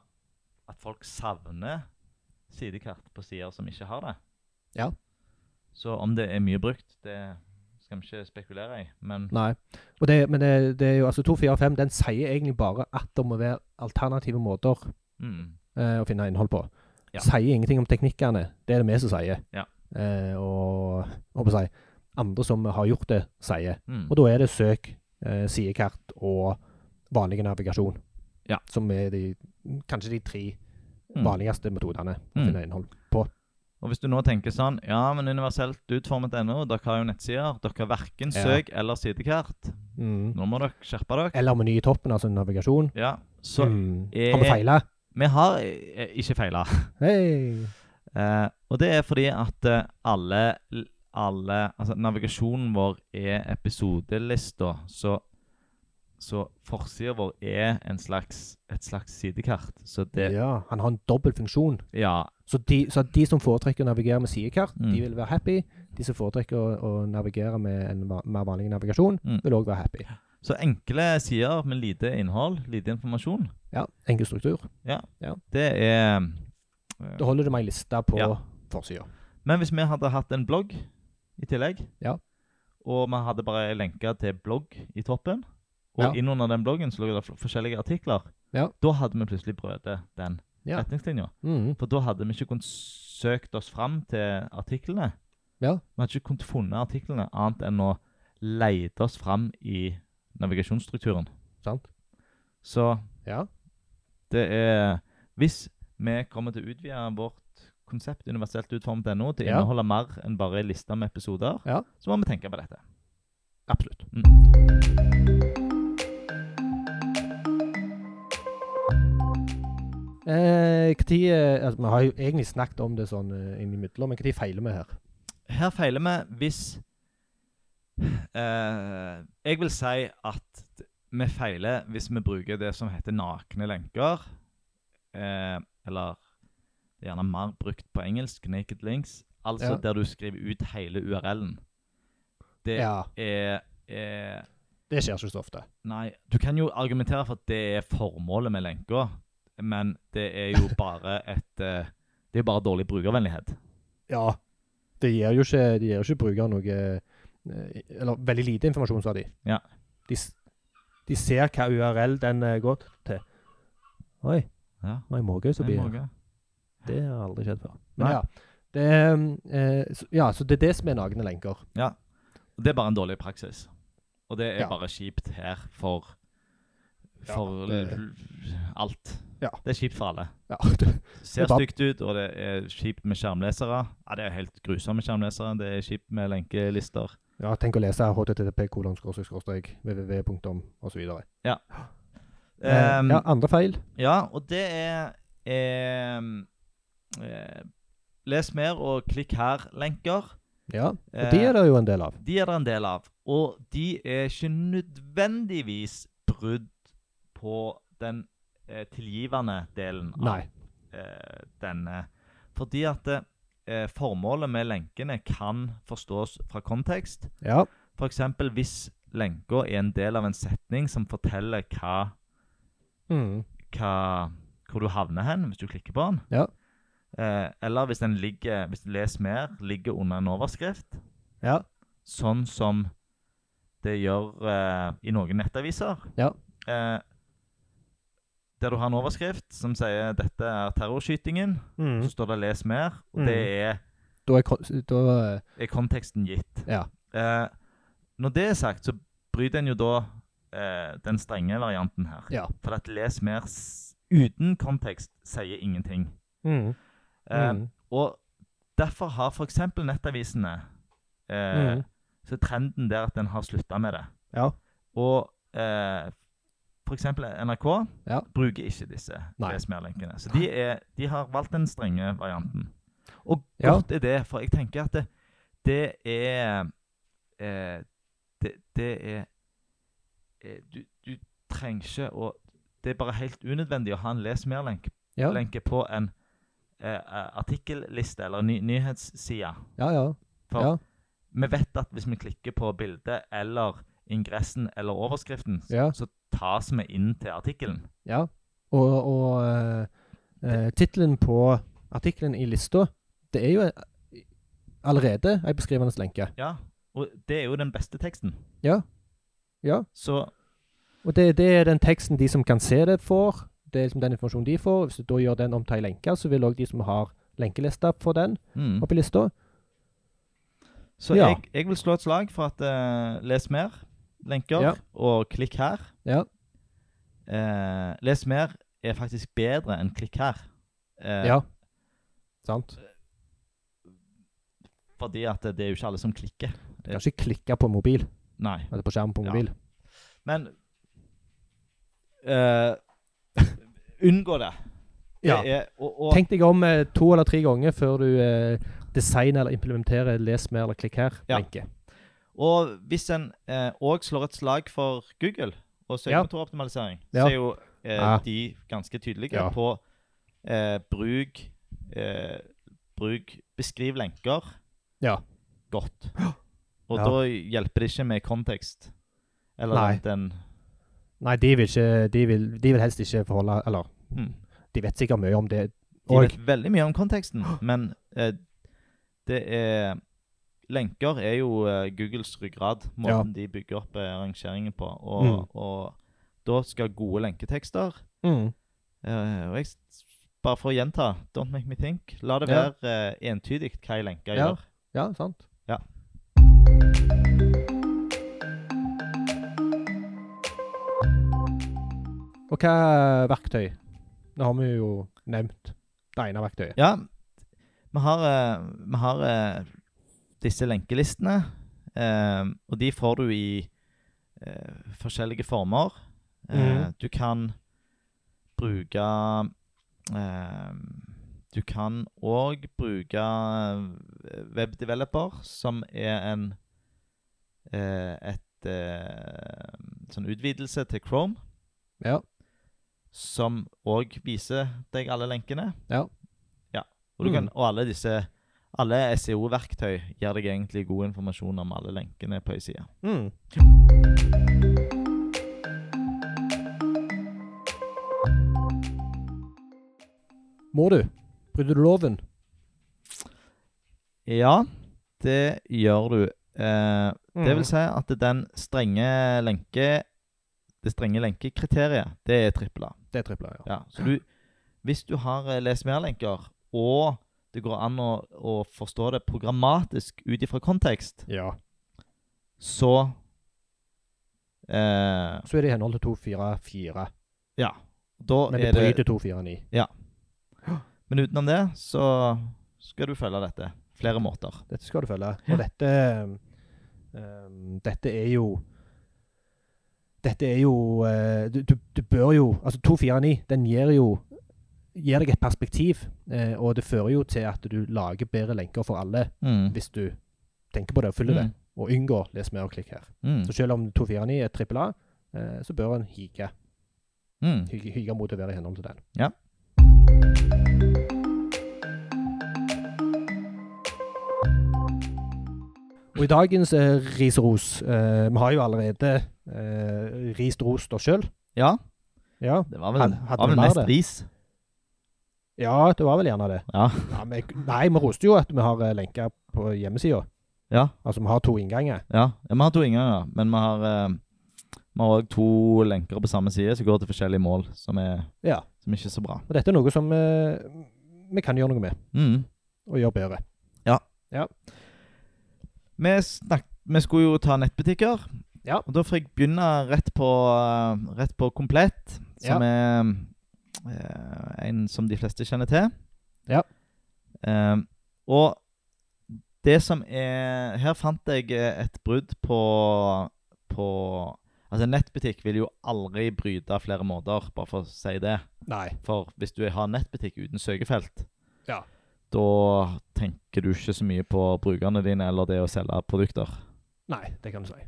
S1: at folk savner sidekart på sider som ikke har det.
S2: Ja.
S1: Så om det er mye brukt, det skal vi ikke spekulere i. Men
S2: Nei. Og det, men det, det er jo altså 245 den sier egentlig bare at det må være alternative måter
S1: mm,
S2: eh, å finne innhold på.
S1: Ja.
S2: Sier ingenting om teknikkene. Det er det vi som sier.
S1: Ja.
S2: Eh, og håper jeg, andre som har gjort det, sier.
S1: mm,
S2: Og da er det søk, eh, sidekart og vanlig navigasjon.
S1: Ja.
S2: Som er de, kanskje de tre
S1: mm.
S2: vanligste metodene å
S1: Mm.
S2: finne innhold på.
S1: Og hvis du nå tenker sånn Ja, men universelt utformet.no, dere har jo nettsider. Dere har verken
S2: Ja.
S1: søk eller sidekart.
S2: Mm.
S1: Nå må dere skjerpe dere.
S2: Eller meny i toppen, altså navigasjon.
S1: Ja, så
S2: mm.
S1: eh,
S2: Har vi feila?
S1: vi har eh, ikke feila.
S2: Hei!
S1: Eh, og det er fordi at eh, alle, alle Altså, navigasjonen vår er episodelista, så så forsida vår er en slags, et slags sidekart. Så det
S2: Ja, han har en dobbel funksjon.
S1: Ja.
S2: Så de, så at de som foretrekker å navigere med sidekart,
S1: Mm.
S2: de vil være happy. De som foretrekker å, å navigere med en va- mer vanlig navigasjon,
S1: Mm.
S2: vil òg være happy.
S1: Så enkle sider med lite innhold, lite informasjon,
S2: Ja, Enkel struktur.
S1: det er
S2: Da holder du meg lista på
S1: Ja.
S2: forsida.
S1: Men hvis vi hadde hatt en blogg i tillegg,
S2: Ja.
S1: og vi hadde bare lenka til blogg i toppen, og
S2: Ja.
S1: innunder den bloggen så lå det fl- forskjellige artikler,
S2: Ja.
S1: da hadde vi plutselig brødet den
S2: Ja.
S1: retningslinja.
S2: Mm.
S1: For da hadde vi ikke kunnet søkt oss fram til artiklene.
S2: Ja.
S1: Vi hadde ikke kunnet funnet artiklene annet enn å leite oss fram i navigasjonsstrukturen.
S2: Sant.
S1: Så
S2: Ja.
S1: det er Hvis vi kommer til å utvide vårt konsept universelt utformet.no til å
S2: Ja.
S1: inneholde mer enn bare en liste med episoder,
S2: Ja.
S1: så må vi tenke på dette. Mm.
S2: Absolutt. Eh, hva tid, eh, altså, vi har jo egentlig snakket om det sånn eh, innimellom, men når feiler vi her?
S1: Her feiler vi hvis eh, Jeg vil si at vi feiler hvis vi bruker det som heter nakne lenker, eh, eller det er gjerne mer brukt på engelsk, naked links, altså
S2: Ja.
S1: der du skriver ut hele URL-en. Det
S2: Ja,
S1: er, er
S2: Det skjer ikke så ofte.
S1: Nei, du kan jo argumentere for at det er formålet med lenka, men det er jo bare et eh, Det er jo bare dårlig brukervennlighet.
S2: Ja. Det gir jo ikke, det gir jo ikke brukeren noe eh, Eller veldig lite informasjon, sa de.
S1: Ja.
S2: De, s- de ser hva URL den eh, går til. Oi,
S1: Ja,
S2: nå er måke
S1: det
S2: forbi.
S1: må jeg.
S2: Det har aldri skjedd før.
S1: Nei.
S2: Men ja. Det, er, eh, så- ja, så det er det som er nakne lenker.
S1: Det er bare en dårlig praksis. Og det er
S2: Ja.
S1: bare kjipt her for
S2: Ja,
S1: For
S2: det-
S1: l- alt.
S2: Ja.
S1: Det er kjipt for alle.
S2: Ja,
S1: Det ser
S2: Det er bare-
S1: stygt ut, og det er kjipt med skjermlesere. Ja, Det er helt grusomme skjermlesere. Det er kjipt med lenkelister.
S2: ja tenk å lese http://www.om osv.
S1: Um,
S2: Eh, ja, andre feil.
S1: Ja, og det er ehm, eh, Les mer og klikk her-lenker.
S2: Ja. Og de er det jo en del av.
S1: De er det en del av. Og de er ikke nødvendigvis brudd på den eh, tilgivende delen av
S2: Nei.
S1: eh, denne. Fordi at eh, formålet med lenkene kan forstås fra kontekst.
S2: Ja.
S1: F.eks. hvis lenka er en del av en setning som forteller hva
S2: Mm.
S1: hva, hvor du havner hen hvis du klikker på den.
S2: Ja.
S1: Eh, eller hvis den ligger, hvis du leser mer, ligger under en overskrift.
S2: Ja.
S1: Sånn som det gjør eh, i noen nettaviser.
S2: Ja.
S1: Eh, der du har en overskrift som sier 'dette er terrorskytingen',
S2: Mm.
S1: så står det 'les mer', og
S2: Mm.
S1: det er,
S2: Da er, kon- da, eh,
S1: er konteksten gitt.
S2: Ja.
S1: Eh, når det er sagt, så bryter en jo da eh, den strenge varianten her.
S2: Ja.
S1: For at les mer s- uten kontekst sier ingenting.
S2: Mm.
S1: Eh,
S2: Mm.
S1: Og derfor har f.eks. nettavisene eh,
S2: Mm.
S1: Så er trenden der at en har slutta med det.
S2: Ja.
S1: Og eh, f.eks. NRK
S2: Ja.
S1: bruker ikke disse
S2: Nei.
S1: les mer-lenkene. Så de, er, de har valgt den strenge varianten. Og
S2: Ja.
S1: godt er det, for jeg tenker at det, det er eh, det, det er eh, du, du trenger ikke å Det er bare helt unødvendig å ha en les mer-lenke
S2: Ja.
S1: lenke på en eh, eh, artikkelliste eller ny nyhetsside.
S2: ja, ja.
S1: For
S2: Ja.
S1: vi vet at hvis vi klikker på bildet eller ingressen eller overskriften, s-
S2: Ja.
S1: så tas vi inn til artikkelen.
S2: ja. Og, og eh, eh, tittelen på artikkelen i lista, det er jo eh, allerede ei beskrivende lenke.
S1: Ja, og det er jo den beste teksten.
S2: Ja. Ja.
S1: Så
S2: Og det, det er den teksten de som kan se det, får. Det er liksom den informasjonen de får. Hvis du da gjør den om til ei lenke, så vil òg de som har lenkelista, få den
S1: mm.
S2: opp i lista.
S1: Så
S2: Ja.
S1: jeg, jeg vil slå et slag for at eh, les mer, lenker,
S2: Ja.
S1: og klikk her.
S2: Ja.
S1: Eh, les mer er faktisk bedre enn klikk her. Eh,
S2: Ja. Sant.
S1: Fordi at det er jo ikke alle som klikker.
S2: Du kan ikke klikke på mobil,
S1: Nei.
S2: eller på skjermen på
S1: Ja.
S2: mobil.
S1: Men eh, Unngå det.
S2: Ja.
S1: det er, og, og,
S2: Tenk deg om eh, to eller tre ganger før du eh, designer eller implementerer 'les mer' eller 'klikk her'.
S1: Ja.
S2: lenke.
S1: og hvis en òg slår et slag for Google og søkemotoroptimalisering,
S2: Ja.
S1: så er jo eh,
S2: Ja.
S1: de ganske tydelige
S2: Ja.
S1: på eh, bruk eh, Bruk Beskriv lenker
S2: Ja.
S1: godt. Og
S2: Ja.
S1: da hjelper det ikke med kontekst. Eller
S2: Nei.
S1: at en
S2: Nei, de vil, ikke, de, vil, de vil helst ikke forholde Eller
S1: Mm.
S2: de vet sikkert mye om det.
S1: De
S2: Og,
S1: vet veldig mye om konteksten, men eh, det er Lenker er jo eh, Googles ryggrad, måten de bygger opp eh, rangeringen på. Og, og da skal gode lenketekster
S2: mm,
S1: eh, Og jeg, s- bare for å gjenta, don't make me think. La det
S2: Ja.
S1: være eh, entydig hva ei lenke
S2: Ja.
S1: gjør.
S2: ja, sant.
S1: Ja.
S2: Og hva verktøy? Nå har vi jo nevnt det ene verktøyet.
S1: Ja, vi har, eh, vi har eh, disse lenkelistene, eh, og de får du i eh, forskjellige former. Eh,
S2: Mhm.
S1: Du kan bruke eh, Du kan òg bruke eh, webdeveloper, som er en eh, et eh, sånn utvidelse til Chrome,
S2: Ja.
S1: som òg viser deg alle lenkene.
S2: Ja.
S1: Ja, Mm. Og, du kan,
S2: Mhm.
S1: og alle disse alle SEO-verktøy gir deg egentlig god informasjon om alle lenkene på ei side.
S2: Mm. Må du? Bryter du loven?
S1: Ja, det gjør du. Eh, Det vil si at den strenge lenke Det strenge lenkekriteriet, det er trippel A.
S2: Det er tripla, ja.
S1: Ja, så du Hvis du har eh, les mer-lenker, og det går an å, å forstå det programmatisk ut ifra kontekst,
S2: ja.
S1: så eh,
S2: Så er det i henhold til 244.
S1: Ja. Da
S2: Men det
S1: er det
S2: bryter 249.
S1: Men utenom det, så skal du følge dette. Flere måter.
S2: Dette skal du følge. Og dette ehm, Dette er jo Dette er jo eh, du, du, du bør jo Altså 249, den gir jo Gir deg et perspektiv, eh, og det fører jo til at du lager bedre lenker for alle
S1: Mm.
S2: hvis du tenker på det og følger det, og unngår les mer og klikk her.
S1: Mm.
S2: Så selv om 249 er trippel A, eh, så bør en hige,
S1: Mm.
S2: hy- hige mot å være i henhold til den.
S1: Ja.
S2: Og i dagens eh, risros eh, Vi har jo allerede eh, rist rost oss sjøl.
S1: Ja,
S2: Ja.
S1: det var vel,
S2: Hadde- hadde
S1: var
S2: vi
S1: vel
S2: mer
S1: mest
S2: det?
S1: ris.
S2: ja, det var vel gjerne det.
S1: Ja.
S2: Ja, men, nei, vi roste jo at vi har eh, lenker på hjemmesida.
S1: ja.
S2: Altså vi har to innganger.
S1: Ja, ja, vi har to innganger, men vi har eh, Vi har òg to lenker på samme side som går til forskjellige mål, som er,
S2: Ja.
S1: som ikke er så bra.
S2: Og dette er noe som eh, vi kan gjøre noe med,
S1: Mm.
S2: og gjøre bedre.
S1: Vi, snak, vi skulle jo ta nettbutikker,
S2: Ja.
S1: og da får jeg begynne rett på, eh, rett på Komplett, som er eh, en som de fleste kjenner til.
S2: Ja.
S1: Eh, og det som er Her fant jeg eh, et brudd på, på Altså, en nettbutikk vil jo aldri bryte flere måter, bare for å si det.
S2: Nei.
S1: For hvis du har nettbutikk uten søkefelt,
S2: Ja.
S1: da tenker du ikke så mye på brukerne dine eller det å selge produkter.
S2: Nei, det kan du si.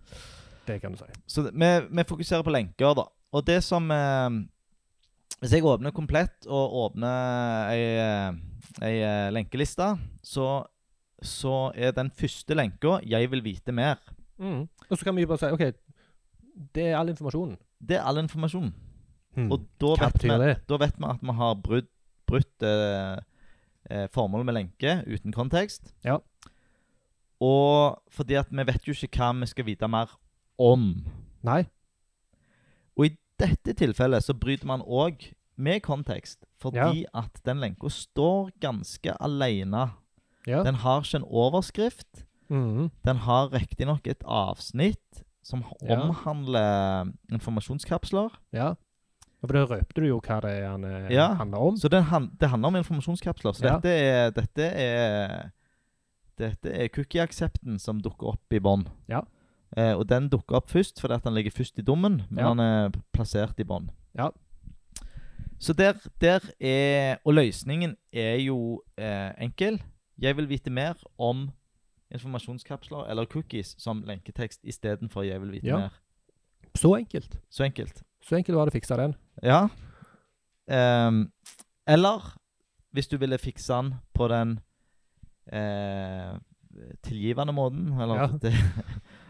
S2: Det kan du si.
S1: Så det- vi, vi fokuserer på lenker, da. Og det som eh, Hvis jeg åpner komplett og åpner ei, eh, ei eh, lenkeliste, så, så er den første lenka 'Jeg vil vite mer'. Mm.
S2: Og så kan vi jo bare si OK, det er all informasjonen.
S1: Det er all informasjon. Og da
S2: Hva
S1: vet, vi,
S2: betyr det?
S1: da vet vi at vi har brutt, brutt eh, eh, formålet med lenke uten kontekst.
S2: Ja.
S1: Og fordi at vi vet jo ikke hva vi skal vite mer om.
S2: Nei.
S1: Og i dette tilfellet så bryter man òg med kontekst, fordi at den lenka står ganske aleine.
S2: Ja.
S1: Den har ikke en overskrift.
S2: Mhm.
S1: Den har riktignok et avsnitt som
S2: Ja.
S1: omhandler informasjonskapsler.
S2: ja. For da røpte du jo hva det er han eh,
S1: Ja.
S2: handler om.
S1: Sånn. Så den han, det handler om informasjonskapsler. Så
S2: Ja.
S1: dette er Dette er, dette er cookie-aksepten som dukker opp i bånn.
S2: Ja.
S1: Eh, og den dukker opp først fordi at den ligger først i dommen, men
S2: Ja.
S1: han er plassert i bånn.
S2: Ja.
S1: Så der, der er Og løsningen er jo eh, enkel. Jeg vil vite mer om informasjonskapsler eller cookies som lenketekst istedenfor 'jeg vil vite
S2: Ja.
S1: mer'.
S2: Så enkelt.
S1: Så enkelt.
S2: Så enkelt var det å fikse den.
S1: Ja. Ehm, eller hvis du ville fikse den på den eh, tilgivende måten, eller
S2: Ja.
S1: det,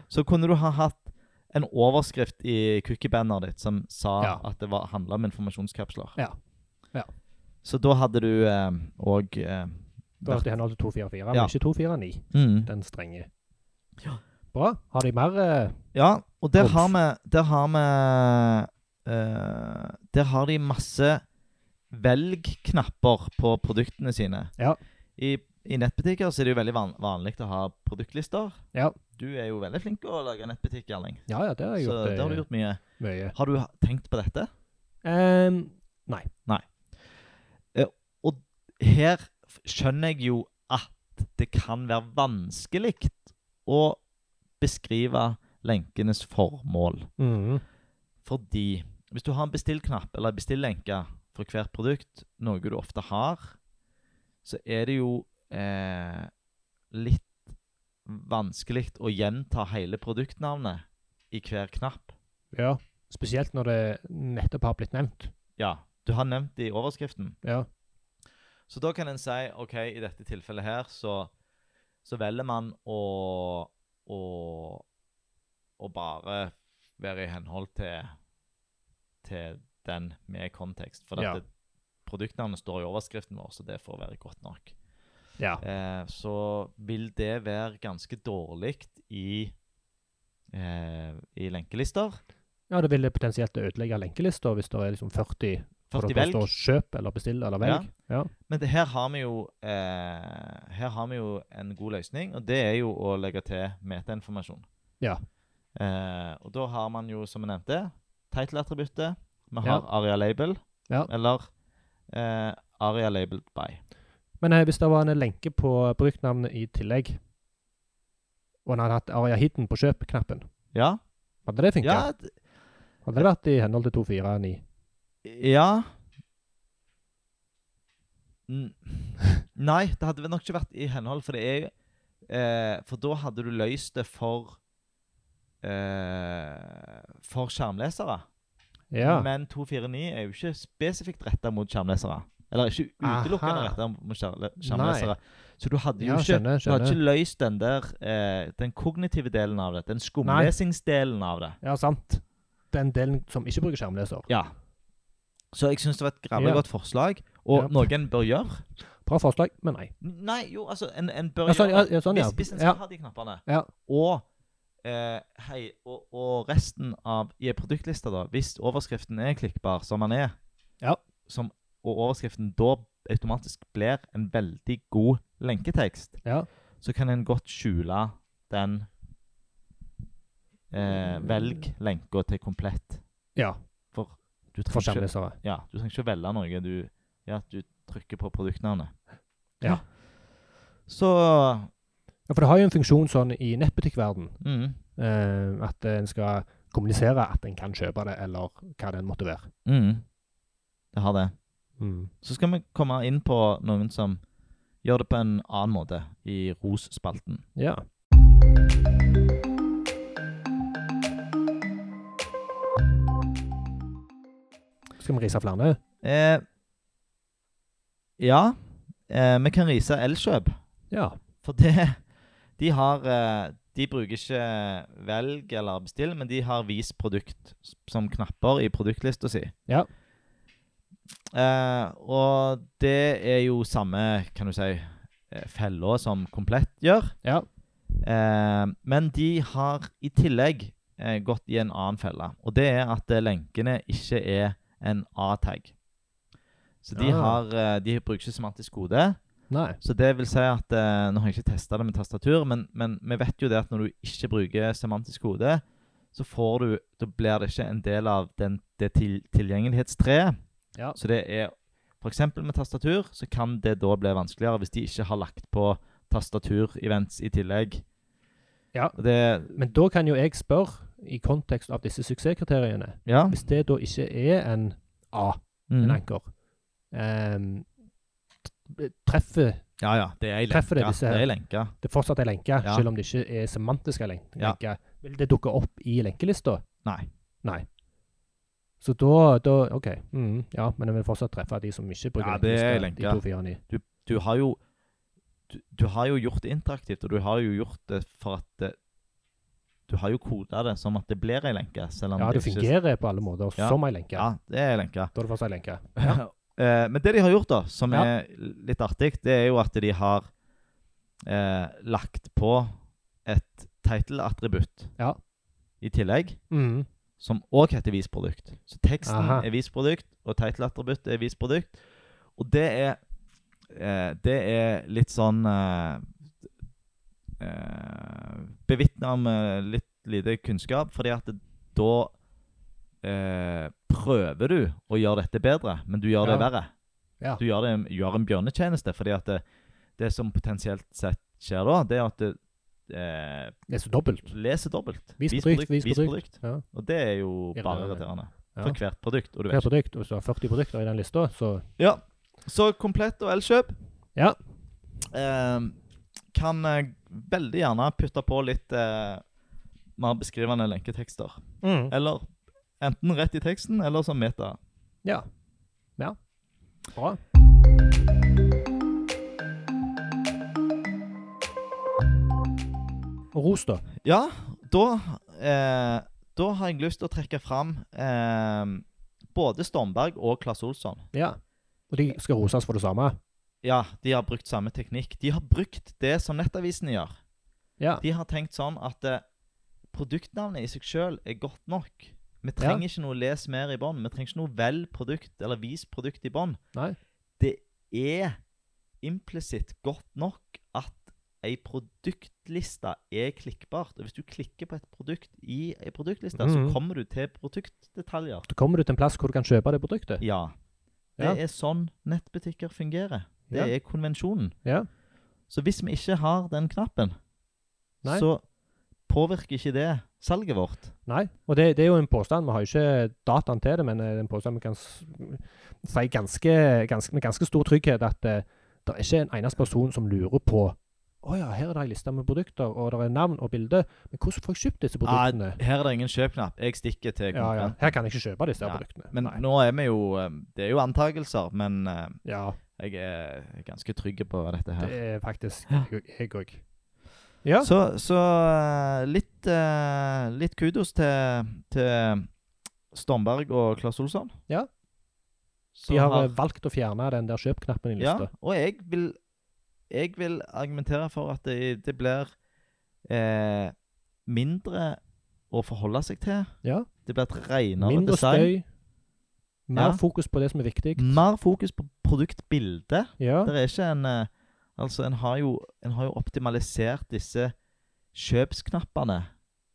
S1: Så kunne du ha hatt en overskrift i cookiebanneret ditt som sa
S2: Ja.
S1: at det var- handla om informasjonskapsler.
S2: Ja. Ja.
S1: Så da hadde du òg eh,
S2: Da hørte jeg henhold til 244, men
S1: Ja.
S2: ikke 249.
S1: mm.
S2: Den strenge.
S1: Ja.
S2: Bra. Har de mer eh,
S1: Ja, og der
S2: Golf.
S1: har vi Der har vi eh, Der har de masse velg-knapper på produktene sine.
S2: Ja.
S1: I, i nettbutikker så er det jo veldig van vanlig å ha produktlister.
S2: Ja.
S1: Du er jo veldig flink til å lage nettbutikk, Erling.
S2: Ja ja, det har jeg
S1: Så
S2: gjort,
S1: det har du
S2: eh,
S1: gjort mye.
S2: mye.
S1: Har du ha- tenkt på dette?
S2: Ehm,
S1: Her f- skjønner jeg jo at det kan være vanskelig å beskrive lenkenes formål.
S2: mhm.
S1: Fordi hvis du har en bestillknapp eller en bestillenke for hvert produkt, noe du ofte har, så er det jo eh, litt vanskelig å gjenta hele produktnavnet i hver knapp.
S2: Ja. Spesielt når det nettopp har blitt nevnt.
S1: Ja, du har nevnt det i overskriften.
S2: Ja.
S1: Så da kan en si OK, i dette tilfellet her så, så velger man å, å, å bare være i henhold til, til den med kontekst. For
S2: Ja.
S1: dette produktnavnet står i overskriften vår, så det får være godt nok.
S2: Ja.
S1: Eh, så vil det være ganske dårlig i, eh, i lenkelister.
S2: ja, det ville potensielt ødelegge lenkelista hvis det er liksom 40 hvor
S1: 40
S2: det bare
S1: velg.
S2: står 'kjøp' eller 'bestill' eller 'velg'. Ja.
S1: Men det, her, har vi jo, eh, her har vi jo en god løsning, og det er jo å legge til metainformasjon.
S2: Ja.
S1: Eh, og da har man jo, som jeg nevnte, title-attributtet. Vi har
S2: Ja.
S1: aria label,
S2: Ja.
S1: eller eh, aria labeled by.
S2: Men eh, hvis det var en lenke på produktnavnet i tillegg, og en hadde hatt Aria Hidden på kjøp-knappen,
S1: Ja,
S2: hadde det funka?
S1: ja, d-
S2: Hadde det vært i henhold til 249?
S1: ja. N Nei, det hadde vel nok ikke vært i henhold, for det er jo eh, For da hadde du løst det for eh, For skjermlesere.
S2: Ja.
S1: Men 249 er jo ikke spesifikt retta mot skjermlesere. Eller ikke utelukkende
S2: Aha.
S1: retta mot skjerle- skjermlesere. Så du hadde jo
S2: ja,
S1: ikke
S2: skjønner.
S1: Du hadde
S2: skjønner.
S1: ikke løst den der eh, Den kognitive delen av det. Den skumlesingsdelen av det.
S2: Ja, sant. Den delen som ikke bruker skjermleser.
S1: Ja. Så jeg syns det var et gravlig
S2: Ja.
S1: godt forslag, og
S2: Ja.
S1: noe en bør gjøre.
S2: Bra forslag, men nei.
S1: N- Nei, jo, altså En, en bør
S2: Ja, sånn, ja,
S1: gjøre
S2: ja, sånn, ja.
S1: Hvis, hvis en skal
S2: ja.
S1: ha de knappene,
S2: Ja.
S1: og eh, Hei, og, og resten av i en produktliste, da, hvis overskriften er klikkbar, som den er,
S2: Ja.
S1: som, og overskriften da automatisk blir en veldig god lenketekst,
S2: Ja.
S1: så kan en godt skjule den eh,
S2: Mm.
S1: Velg lenka til komplett.
S2: ja.
S1: For du
S2: For
S1: trenger, ikke,
S2: skjermlesere.
S1: ja, du trenger ikke velge noe. Du, ja, du trykker på produktnavnet.
S2: Ja.
S1: Så
S2: Ja, for det har jo en funksjon sånn i nettbutikkverden,
S1: mm,
S2: eh, at en skal kommunisere at en kan kjøpe det, eller hva det enn måtte være.
S1: mm, Det har det.
S2: Mm.
S1: Så skal vi komme inn på noen som gjør det på en annen måte i Ros-spalten.
S2: Ja. Skal vi rise flere?
S1: Eh, ja, eh, vi kan rise Elkjøp.
S2: Ja.
S1: For det De har eh, De bruker ikke velg eller bestill, men de har vis produkt s- som knapper i produktlista si.
S2: Ja.
S1: Eh, og det er jo samme, kan du si, eh, fella som Komplett gjør.
S2: Ja.
S1: Eh, men de har i tillegg eh, gått i en annen felle. Og det er at eh, lenkene ikke er en A-tag. Så de,
S2: Ah.
S1: har, eh, de bruker ikke semantisk kode.
S2: Nei.
S1: Så det vil si at eh, Nå har jeg ikke testa det med tastatur, men, men vi vet jo det at når du ikke bruker semantisk kode, så får du Da blir det ikke en del av den, det til, tilgjengelighetstreet.
S2: Ja.
S1: Så det er F.eks. med tastatur så kan det da bli vanskeligere hvis de ikke har lagt på tastatur-events i tillegg.
S2: Ja.
S1: Og Det,
S2: Men da kan jo jeg spørre, i kontekst av disse suksesskriteriene
S1: ja.
S2: Hvis det da ikke er en A, en
S1: Mm.
S2: anker ehm, t- Treffer
S1: ja, ja. Det er ei lenke.
S2: Treffer det disse her?
S1: Det er ei lenke.
S2: det fortsatt er lenke,
S1: Ja.
S2: selv om det ikke er semantiske len-
S1: Ja.
S2: lenker, vil det dukke opp i lenkelista?
S1: Nei.
S2: Nei. Så da, da OK. Mm, ja, men jeg vil fortsatt treffe de som ikke bruker
S1: Ja, det er
S2: lenkelista,
S1: lenke.
S2: De to firene i.
S1: du har jo du, du har jo gjort det interaktivt, og du har jo gjort det for at det, Du har jo koda det som at det blir ei lenke. Selv om
S2: Ja, det
S1: det ikke-
S2: fungerer på alle måter
S1: Ja.
S2: som ei lenke.
S1: Ja, det er ei lenke.
S2: Da er det fortsatt ei lenke.
S1: Eh, Men det de har gjort, da, som
S2: Ja.
S1: er litt artig, det er jo at de har eh, lagt på et title-attributt
S2: Ja.
S1: i tillegg,
S2: Mm.
S1: som òg heter visprodukt. Så teksten
S2: Aha.
S1: er visprodukt, og title-attributt er visprodukt. Og det er eh, Det er litt sånn eh, eh, Bevitna om eh, litt lite kunnskap, fordi at det, da eh, prøver du å gjøre dette bedre, men du gjør det
S2: Ja.
S1: verre.
S2: Ja.
S1: Du gjør, det, gjør en bjørnetjeneste, fordi at det, det som potensielt sett skjer da, det er at det, eh,
S2: Det er så dobbelt.
S1: leser dobbelt.
S2: Vis produkt, vis produkt. Ja.
S1: Og det er jo bare
S2: Irriterende.
S1: irriterende.
S2: Ja.
S1: For hvert produkt. Og du
S2: Per
S1: vet ikke.
S2: produkt, og så har 40 produkter i den lista, så
S1: Ja. Så komplett og elkjøp.
S2: Ja.
S1: Ehm, kan eh, veldig gjerne putte på litt eh, mer beskrivende lenketekster. Eller enten rett i teksten, eller som meta.
S2: Ja. Ja. Bra. Og ros, da.
S1: Ja, da eh, Da har jeg lyst til å trekke fram eh, både Stormberg og Claes Olsson.
S2: Ja. Og de skal roses for det samme.
S1: Ja, de har brukt samme teknikk. De har brukt det som Nettavisen gjør.
S2: Ja.
S1: De har tenkt sånn at eh, produktnavnet i seg sjøl er godt nok. Vi trenger ikke noe les mer i bånd. Vi trenger ikke noe vel produkt eller vis produkt i bånd.
S2: Nei.
S1: Det er implisitt godt nok at ei produktliste er klikkbart. Og hvis du klikker på et produkt i ei produktliste,
S2: Mhm.
S1: så kommer du til produktdetaljer.
S2: Da kommer du til en plass hvor du kan kjøpe det produktet.
S1: Ja. Det
S2: Ja.
S1: er sånn nettbutikker fungerer. Det
S2: Ja.
S1: er konvensjonen.
S2: Ja.
S1: Så hvis vi ikke har den knappen,
S2: Nei.
S1: så påvirker ikke det salget vårt.
S2: Nei. Og det, det er jo en påstand. Vi har jo ikke dataen til det, men eh, det er en påstand vi kan s- si ganske, ganske, med ganske stor trygghet at eh, det er ikke en eneste person som lurer på å ja, her er det ei liste med produkter, og det er navn og bilde. Men hvordan får jeg kjøpt disse produktene?
S1: Her er det ingen kjøpknapp. Jeg stikker til
S2: Ja, ja.
S1: konkurrenten.
S2: Her kan jeg ikke kjøpe disse her
S1: Ja,
S2: produktene.
S1: Men
S2: Nei.
S1: nå er vi jo eh, Det er jo antakelser, men eh,
S2: Ja,
S1: jeg er ganske trygg på dette her.
S2: det er faktisk
S1: Ja.
S2: jeg- jeg òg. Ja.
S1: Så, så eh, litt, eh, litt kudos til, til Stormberg og Claes Olsson.
S2: Ja.
S1: Som
S2: De har eh, valgt å fjerne den der kjøpknappen i
S1: Ja,
S2: lista.
S1: og jeg vil, jeg vil argumentere for at det, det blir eh, mindre å forholde seg til.
S2: Ja.
S1: Det blir et renere
S2: Mindre
S1: design.
S2: støy.
S1: Ja.
S2: Mer fokus på det som er viktig.
S1: Mer fokus på produktbildet.
S2: Ja.
S1: Det er ikke en eh, Altså, en har jo, en har jo optimalisert disse kjøpsknappene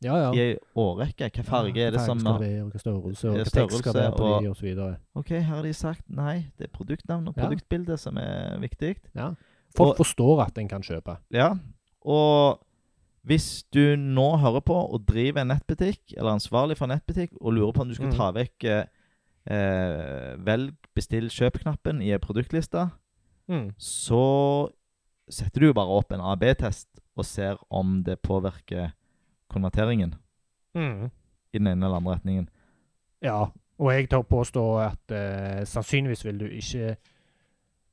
S2: ja, ja.
S1: i ei årrekke. Hva farge
S2: Ja,
S1: er det
S2: hva
S1: som
S2: farge skal det være, og hva størrelse, og
S1: Ja,
S2: hva tekst skal det være på
S1: størrelse,
S2: de, og så videre.
S1: OK, her har de sagt nei. Det er produktnavn og
S2: Ja.
S1: produktbilde som er viktig.
S2: Folk
S1: Og-
S2: forstår at en kan kjøpe.
S1: Ja, og hvis du nå hører på og driver en nettbutikk, eller er ansvarlig for en nettbutikk, og lurer på om du skal
S2: Mm.
S1: ta vekk eh, eh, velg, bestill, kjøp-knappen i en produktliste, så setter du jo bare opp en AB-test og ser om det påvirker konverteringen i den ene eller andre retningen.
S2: Ja, og jeg tør påstå at eh, sannsynligvis vil du ikke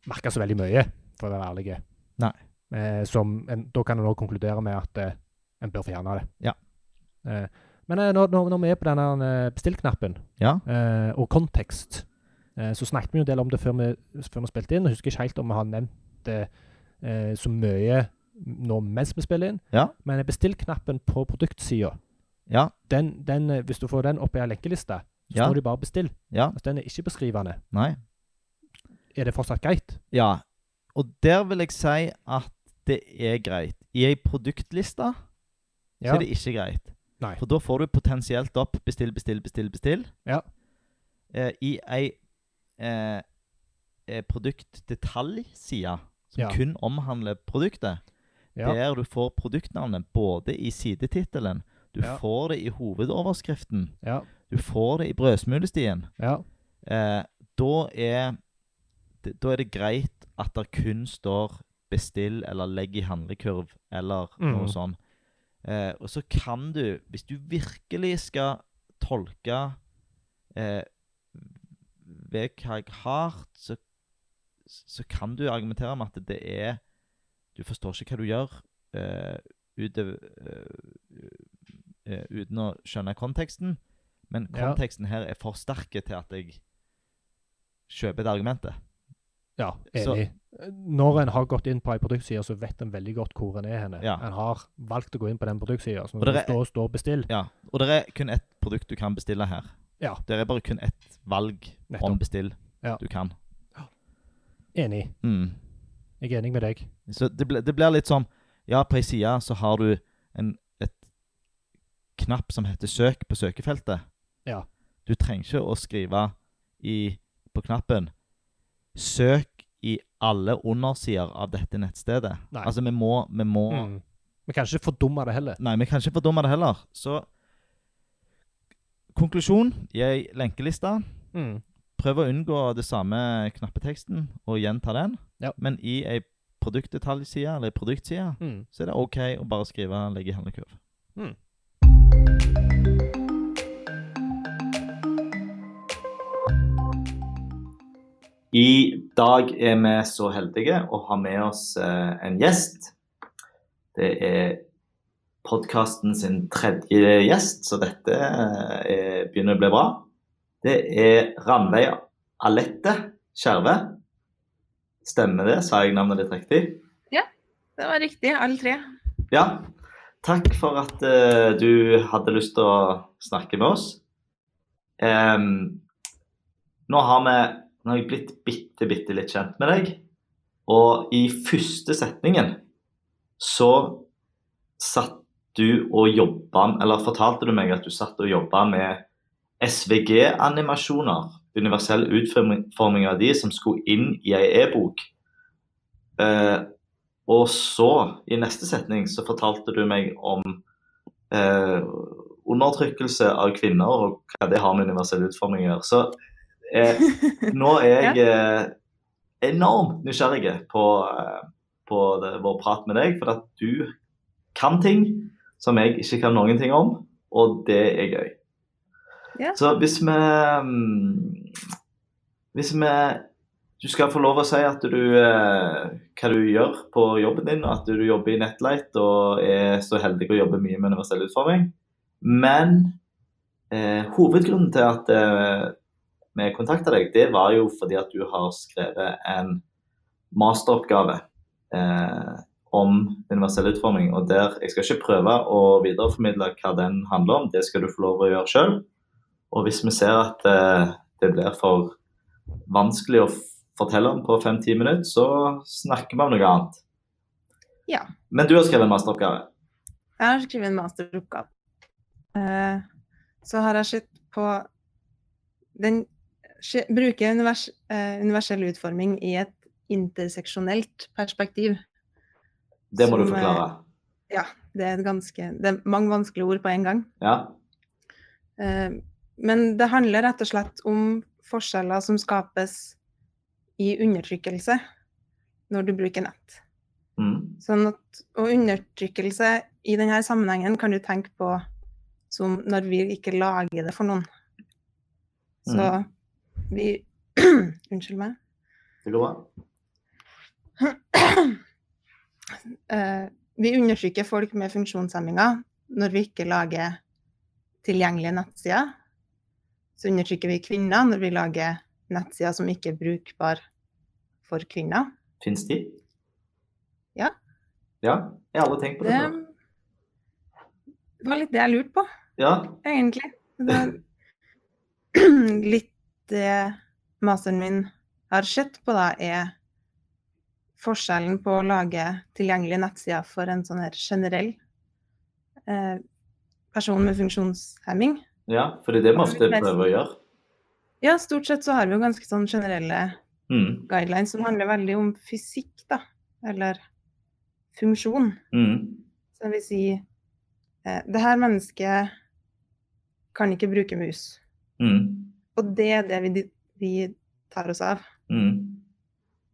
S2: merke så veldig mye, for å være ærlig.
S1: Nei.
S2: Eh, som en, da kan en også konkludere med at eh, en bør fjerne det.
S1: Ja.
S2: Eh, men eh, når, når, når vi er på denne eh, bestillknappen
S1: Ja,
S2: eh, og kontekst Eh, Så snakket vi jo en del om det før vi, før vi spilte inn. Jeg husker ikke helt om vi har nevnt det eh, så mye nå mens vi spiller inn.
S1: Ja.
S2: Men bestillknappen på produktsida,
S1: Ja.
S2: den, den, eh, hvis du får den opp i ei lenkeliste, så
S1: Ja.
S2: står det jo bare 'bestill'.
S1: Ja.
S2: Altså, den er ikke beskrivende.
S1: Nei.
S2: Er det fortsatt greit?
S1: Ja. Og der vil jeg si at det er greit. I ei produktliste så er det ikke greit.
S2: Nei.
S1: For da får du potensielt opp bestill, bestill, bestill, bestill.
S2: Ja.
S1: Eh, I ei eh, eh, produktdetaljside som
S2: Ja.
S1: kun omhandler produktet,
S2: Ja.
S1: der du får produktnavnet både i sidetittelen, du
S2: Ja.
S1: får det i hovedoverskriften,
S2: Ja.
S1: du får det i brødsmulestien.
S2: ja.
S1: Eh, da er det- Da er det greit at det kun står 'bestill' eller 'legg i handlekurv' eller noe
S2: Mm.
S1: sånt. Eh, og så kan du, hvis du virkelig skal tolke eh, Veghaug hardt, så, så kan du argumentere med at det er Du forstår ikke hva du gjør eh, utøv- eh, eh, uten å skjønne konteksten. Men
S2: Ja.
S1: konteksten her er for sterk til at jeg kjøper det argumentet.
S2: Ja,
S1: Så-
S2: enig. Når en har gått inn på ei produktside, så vet en veldig godt hvor en er henne.
S1: Ja.
S2: En har valgt å gå inn på den produktsida. Så
S1: Og
S2: når det
S1: dere-
S2: står, står 'bestill',
S1: Ja, Og det er kun ett produkt du kan bestille her.
S2: Ja.
S1: Det er bare kun ett valg om
S2: nettopp.
S1: bestill
S2: Ja.
S1: du kan.
S2: Enig.
S1: Mm.
S2: Jeg er enig med deg.
S1: Så det, ble, det blir litt som Ja, på ei side så har du en et knapp som heter 'søk' på søkefeltet.
S2: Ja.
S1: Du trenger ikke å skrive i, på knappen 'søk i alle undersider av dette nettstedet'.
S2: Nei.
S1: Altså, vi må, vi må
S2: Mm. Vi kan ikke fordumme det heller.
S1: Nei, vi kan ikke fordumme det heller. Så konklusjon i ei lenkeliste.
S2: Mm.
S1: Prøv å unngå det samme knappeteksten og gjenta den.
S2: Ja.
S1: Men i ei produktdetaljside eller ei produktside
S2: Mm.
S1: så er det OK å bare skrive 'legge i handlekurv'.
S2: Mm.
S1: I dag er vi så heldige å ha med oss eh, en gjest. Det er podkasten sin tredje gjest, så dette eh, er- begynner å bli bra. Det er Ranveig Alette Skjerve. Stemmer det? Sa jeg navnet ditt riktig?
S3: Det var riktig, alle tre.
S1: Ja. Takk for at eh, du hadde lyst til å snakke med oss. Em, nå har vi nå har jeg blitt bitte, bitte litt kjent med deg. Og i første setningen så satt du og jobba Eller fortalte du meg at du satt og jobba med SVG-animasjoner. Universell utforming av de som skulle inn i ei e-bok. Eh, og så, i neste setning, så fortalte du meg om eh, undertrykkelse av kvinner og hva det har med universell utforming å gjøre. Så eh, nå er jeg eh, enormt nysgjerrig på, eh, på det, vår prat med deg, for at du kan ting som jeg ikke kan noen ting om, og det er gøy.
S3: Ja.
S1: Så hvis vi mm, Hvis vi Du skal få lov å si at du eh, hva du gjør på jobben din, og at du jobber i Netlight og er så heldig å jobbe mye med universell utforming. Men eh, hovedgrunnen til at eh, vi kontakta deg, det var jo fordi at du har skrevet en masteroppgave eh, om universell utforming. Og der, jeg skal ikke prøve å videreformidle hva den handler om, det skal du få lov å gjøre sjøl. Og hvis vi ser at eh, det blir for vanskelig å f- fortelle om på fem-ti minutter, så snakker vi om noe annet.
S3: Ja.
S1: Men du har skrevet en masteroppgave.
S3: Jeg har skrevet en masteroppgave. Eh, Så har jeg sett på den se- Bruke univers, eh, universell utforming i et interseksjonelt perspektiv.
S1: Det må du
S3: Som, eh,
S1: forklare.
S3: Det er, et ganske, det er mange vanskelige ord på en gang.
S1: Ja.
S3: Eh, Men det handler rett og slett om forskjeller som skapes i undertrykkelse når du bruker nett.
S1: Mm.
S3: Sånn at, og undertrykkelse i denne sammenhengen kan du tenke på som når vi ikke lager det for noen. Så vi Unnskyld meg.
S1: Det går bra.
S3: Eh, vi undertrykker folk med funksjonshemminger når vi ikke lager tilgjengelige nettsider. Så undertrykker vi kvinner når vi lager nettsider som ikke er brukbar for kvinner.
S1: Fins de?
S3: Ja.
S1: Ja, jeg har aldri tenkt på det.
S3: Det
S1: før.
S3: var litt Ehm, det jeg lurte på,
S1: Ja,
S3: egentlig. Det litt det masteren min har sett på, da, er forskjellen på å lage tilgjengelige nettsider for en sånn her generell eh, person med funksjonshemming.
S1: ja, for det er det vi ofte prøver å gjøre.
S3: Ja, stort sett så har vi jo ganske sånn generelle
S1: Mm.
S3: guidelines som handler veldig om fysikk, da. Eller funksjon.
S1: Mm.
S3: Så vil si eh, Det her mennesket kan ikke bruke mus.
S1: Mm.
S3: Og det er det vi, vi tar oss av.
S1: Mm.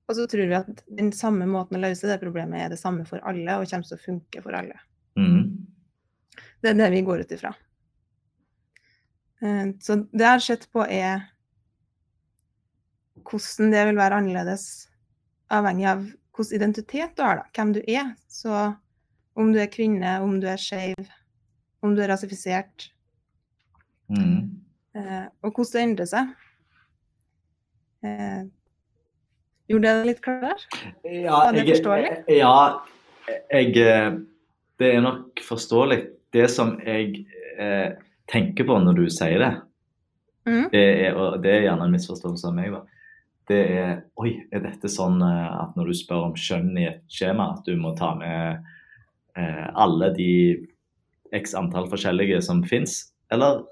S3: Og så tror vi at den samme måten å løse det problemet er det samme for alle, og kommer til å funke for alle.
S1: Mm.
S3: Det er det vi går ut ifra. Eh, Så det jeg har sett på, er hvordan det vil være annerledes avhengig av hvilken identitet du har, da. hvem du er. Så om du er kvinne, om du er skeiv, om du er rasifisert,
S1: Mm.
S3: eh, og hvordan det endrer seg. Eh, Gjorde jeg det litt klar?
S1: Ja,
S3: Var det
S1: jeg-
S3: forståelig?
S1: Ja, jeg eh, Det er nok forståelig. Det som jeg eh, tenker på når du sier det,
S3: Mm.
S1: det er, og det er gjerne en misforståelse av meg, da. Det er Oi, er dette sånn eh, at når du spør om kjønn i et skjema, at du må ta med eh, alle de x antall forskjellige som fins, eller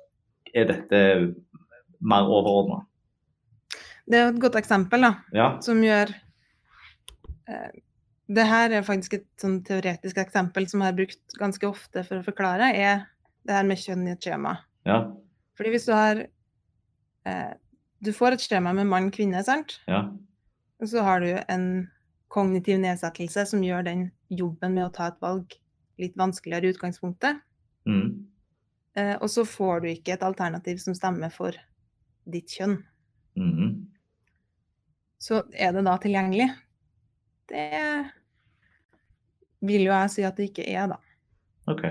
S1: er dette mer overordna?
S3: Det er jo et godt eksempel, da.
S1: Ja.
S3: som gjør eh, Det her er faktisk et sånn teoretisk eksempel som jeg har brukt ganske ofte for å forklare, er det her med kjønn i et skjema.
S1: Ja.
S3: Fordi hvis du har eh, Du får et skjema med mann, kvinne, sant?
S1: Ja.
S3: Og så har du en kognitiv nedsettelse som gjør den jobben med å ta et valg litt vanskeligere i utgangspunktet.
S1: Mm.
S3: Eh, og så får du ikke et alternativ som stemmer for ditt kjønn.
S1: Mm.
S3: Så er det da tilgjengelig? Det vil jo jeg si at det ikke er, da.
S1: OK.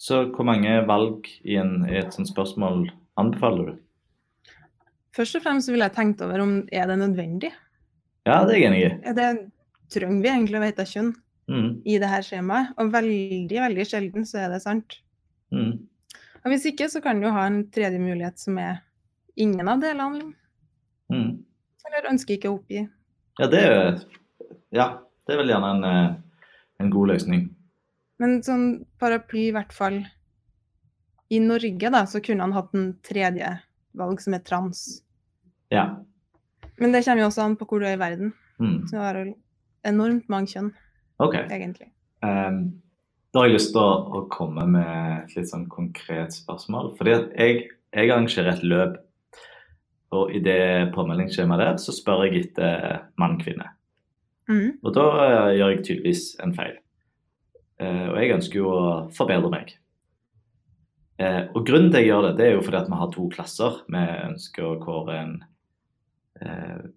S1: Så hvor mange valg i, en, i et sånt spørsmål anbefaler du?
S3: Først og fremst så ville jeg tenkt over om er det nødvendig.
S1: Ja, det er jeg enig i.
S3: Er det, trenger vi egentlig å vite kjønn
S1: Mm.
S3: i det her skjemaet? Og veldig, veldig sjelden så er det sant.
S1: Mm.
S3: Og hvis ikke, så kan du jo ha en tredje mulighet som er ingen av delene.
S1: Mm.
S3: Eller ønsker ikke å oppgi.
S1: Ja, det er, ja, det er vel gjerne en, eh, en god løsning.
S3: Men sånn paraply, i hvert fall i Norge, da, så kunne han hatt en tredje valg som er trans.
S1: Ja.
S3: Men det kommer jo også an på hvor du er i verden.
S1: Mm.
S3: Så har du enormt mange kjønn,
S1: OK.
S3: egentlig.
S1: Ehm, da har jeg lyst til å, å komme med et litt sånn konkret spørsmål. Fordi at jeg, jeg arrangerer et løp, og i det påmeldingsskjemaet der så spør jeg etter mann-kvinne.
S3: Mhm.
S1: Og da eh, gjør jeg tydeligvis en feil. Eh, og jeg ønsker jo å forbedre meg. Eh, og grunnen til jeg gjør det, det er jo fordi at vi har to klasser. Vi ønsker å kåre en eh,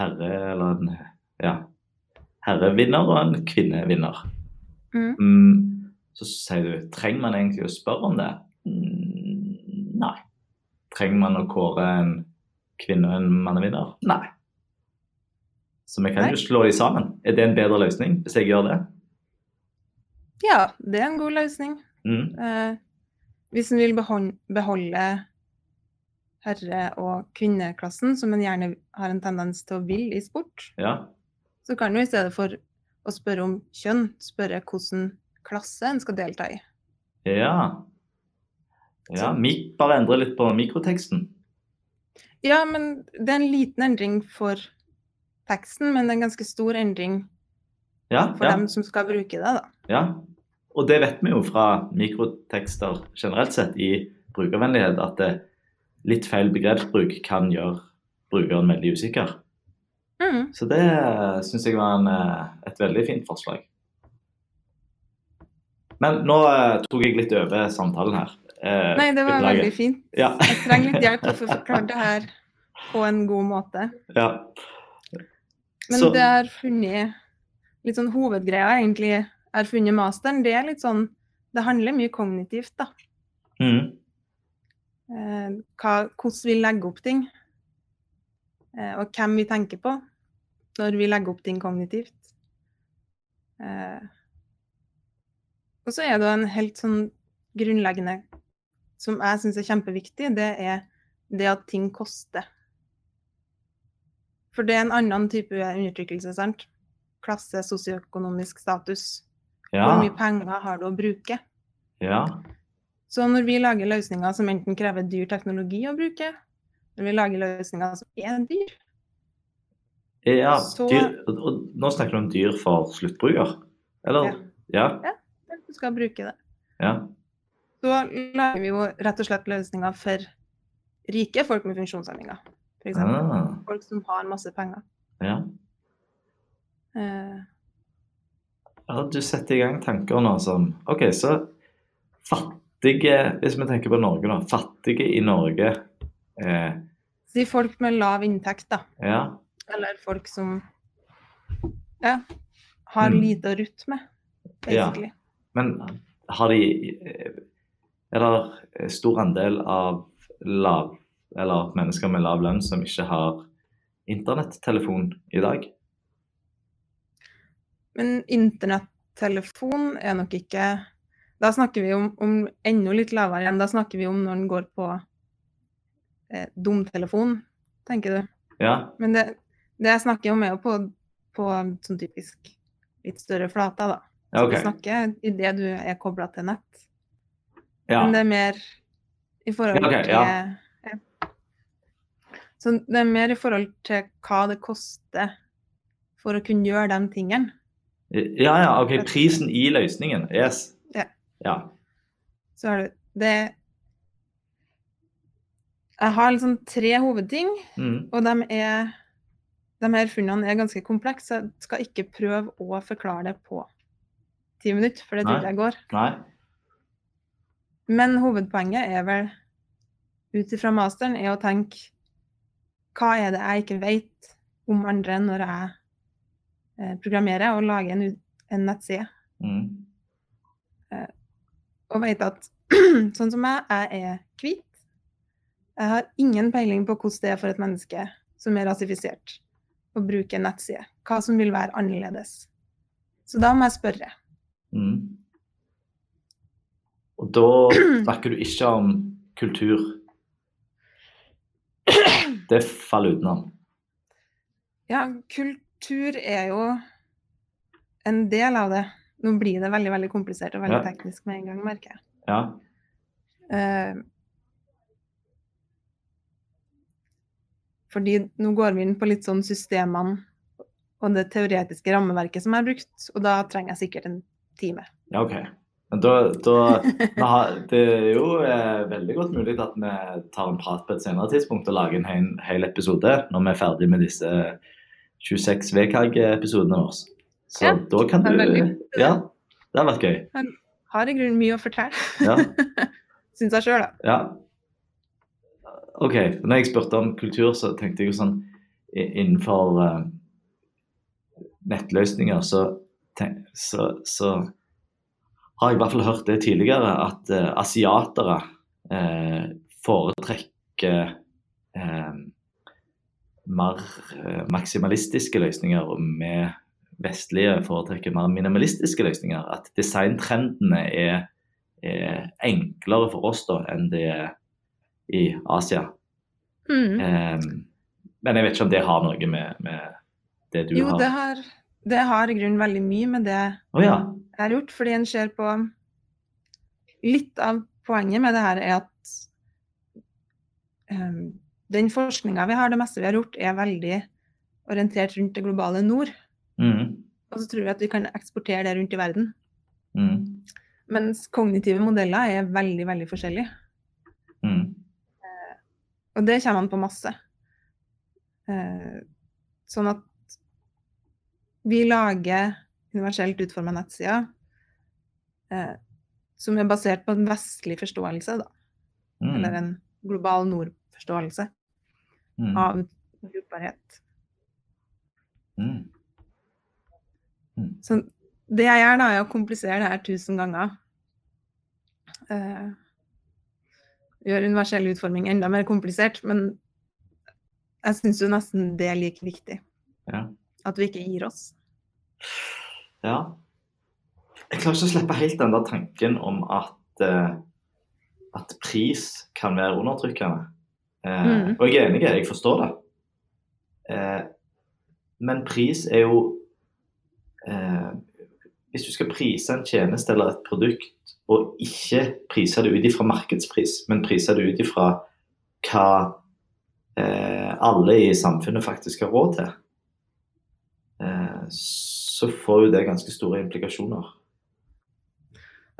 S1: herre eller en ja, herrevinner og en kvinnevinner.
S3: Mhm.
S1: Mm, så sier du trenger man egentlig å spørre om det? Mm, nei. Trenger man å kåre en kvinne og en mannevinner? Nei. Så vi kan jo slå de sammen. Er det en bedre løsning hvis jeg gjør det?
S3: Ja, det er en god løsning.
S1: Mm,
S3: Eh, hvis en vil behol- beholde herre- og kvinneklassen, som en gjerne har en tendens til å vil i sport,
S1: ja.
S3: så kan du i stedet for å spørre om kjønn, spørre hvilken klasse en skal delta i.
S1: Ja. ja mik bare endre litt på mikroteksten.
S3: Ja, men det er en liten endring for teksten, men det er en ganske stor endring
S1: Ja,
S3: for
S1: ja,
S3: dem som skal bruke det, da.
S1: ja. Og det vet vi jo fra mikrotekster generelt sett i brukervennlighet, at det, litt feil begrepsbruk kan gjøre brukeren veldig usikker.
S3: Mhm.
S1: Så det syns jeg var en, eh, et veldig fint forslag. Men nå eh, tok jeg litt over samtalen her. Eh,
S3: Nei, det var
S1: beklager.
S3: veldig fint.
S1: Ja.
S3: Jeg trenger litt hjelp til å få forklart det her på en god måte.
S1: Ja.
S3: Men
S1: Så-
S3: det jeg har funnet litt sånn hovedgreia egentlig jeg har funnet masteren, det er litt sånn Det handler mye kognitivt, da.
S1: Mhm.
S3: Eh, hva, hvordan vi legger opp ting. eh, og hvem vi tenker på når vi legger opp ting kognitivt. Eh, og så er det jo en helt sånn grunnleggende som jeg syns er kjempeviktig, det er det at ting koster. For det er en annen type undertrykkelse, sant? Klasse, sosioøkonomisk status. Hvor
S1: Ja.
S3: mye penger har du å bruke?
S1: ja.
S3: Så når vi lager løsninger som enten krever dyr teknologi å bruke, når vi lager løsninger som er dyr,
S1: Ja,
S3: Så-
S1: dyr, og, og nå snakker du om dyr for sluttbruker? Eller? Ja.
S3: at du skal bruke det,
S1: Ja.
S3: så lager vi jo rett og slett løsninger for rike folk med funksjonshemninger, f.eks.
S1: Ah,
S3: Folk som har masse penger.
S1: ja.
S3: Eh,
S1: ja. Du setter i gang tanker nå som OK, så fattige Hvis vi tenker på Norge, da. Fattige i Norge. Eh,
S3: si folk med lav inntekt, da.
S1: ja.
S3: Eller folk som ja, har
S1: Mm.
S3: lite å rutte med,
S1: Ja.
S3: basically.
S1: Men har de eh, Er det stor andel av lav Eller mennesker med lav lønn som ikke har internettelefon i dag?
S3: Men internettelefon er nok ikke Da snakker vi om, om enda litt lavere igjen. Da snakker vi om når den går på eh, dumtelefon, tenker du.
S1: Ja.
S3: Men det, det jeg snakker om, er jo på, på sånn typisk litt større flater, da.
S1: ja, OK.
S3: Du snakker idet du er kobla til nett.
S1: Ja.
S3: Men det er mer i forhold
S1: Ja, ok,
S3: til ja. Så det er mer i forhold til hva det koster for å kunne gjøre de tingene.
S1: Ja, ja, ok. Prisen i løsningen. Yes.
S3: Ja.
S1: Ja.
S3: så har du det Jeg har liksom tre hovedting,
S1: Mm.
S3: og de er de her funnene er ganske komplekse, så jeg skal ikke prøve å forklare det på ti minutter, for det tror
S1: Nei.
S3: ikke jeg går.
S1: Nei.
S3: Men hovedpoenget er vel, ut ifra masteren, er å tenke hva er det jeg ikke vet om andre når jeg eh, programmerer og lager en, ut- en nettside?
S1: Mm.
S3: og vet at sånn som meg, jeg er hvit. Jeg har ingen peiling på hvordan det er for et menneske som er rasifisert, å bruke en nettside. Hva som vil være annerledes. Så da må jeg spørre.
S1: Mm. Og da snakker du ikke om kultur. Det faller utenom.
S3: Ja, kultur er jo en del av det. Nå blir det veldig veldig komplisert og veldig
S1: Ja.
S3: teknisk med en gang, merker jeg.
S1: Ja.
S3: Eh, fordi nå går vi inn på litt sånn systemene og det teoretiske rammeverket som jeg har brukt, og da trenger jeg sikkert en time.
S1: Ja, OK. Men da, da vi har, Det er jo eh, veldig godt mulig at vi tar en prat på et senere tidspunkt og lager en hel, hel episode når vi er ferdig med disse 26 VKG-episodene våre. Så
S3: Ja,
S1: da kan
S3: det er
S1: du
S3: veldig-
S1: Ja, det har vært gøy.
S3: har i grunnen mye å fortelle,
S1: Ja.
S3: syns jeg sjøl, da.
S1: Ja. OK. Når jeg spurte om kultur, så tenkte jeg jo sånn i- Innenfor eh, nettløsninger så, tenk, så, så har jeg i hvert fall hørt det tidligere, at eh, asiatere eh, foretrekker eh, mer eh, maksimalistiske løsninger, og vi vestlige foretrekker mer minimalistiske løsninger. At designtrendene er eh, enklere for oss da enn det er i Asia.
S3: Mm.
S1: Eh, men jeg vet ikke om det har noe med, med det du
S3: Jo,
S1: har
S3: det har, det har i grunnen veldig mye med det
S1: Å ja.
S3: jeg har gjort, fordi en ser på Litt av poenget med det her er at eh, den forskninga vi har, det meste vi har gjort, er veldig orientert rundt det globale nord.
S1: Mhm.
S3: Og så tror vi at vi kan eksportere det rundt i verden.
S1: Mhm.
S3: Mens kognitive modeller er veldig, veldig forskjellige.
S1: Mhm.
S3: Og det kommer an på masse. Eh, sånn at vi lager universelt utforma nettsider eh, som er basert på en vestlig forståelse, da.
S1: Mhm.
S3: Eller en global nord-forståelse
S1: Mhm.
S3: av brukbarhet.
S1: Mhm.
S3: Så det jeg gjør, da, er å komplisere det her tusen ganger. Eh, gjør universell utforming enda mer komplisert, men Jeg syns jo nesten det er like viktig.
S1: Ja.
S3: At vi ikke gir oss.
S1: Ja. Jeg klarer ikke å slippe helt den der tanken om at, eh, at pris kan være undertrykkende. Eh,
S3: Mm.
S1: Og jeg er enig, jeg forstår det. Eh, men pris er jo eh, Hvis du skal prise en tjeneste eller et produkt, og ikke prise det ut ifra markedspris, men prise det ut ifra hva eh, alle i samfunnet faktisk har råd til eh, så får jo det ganske store implikasjoner.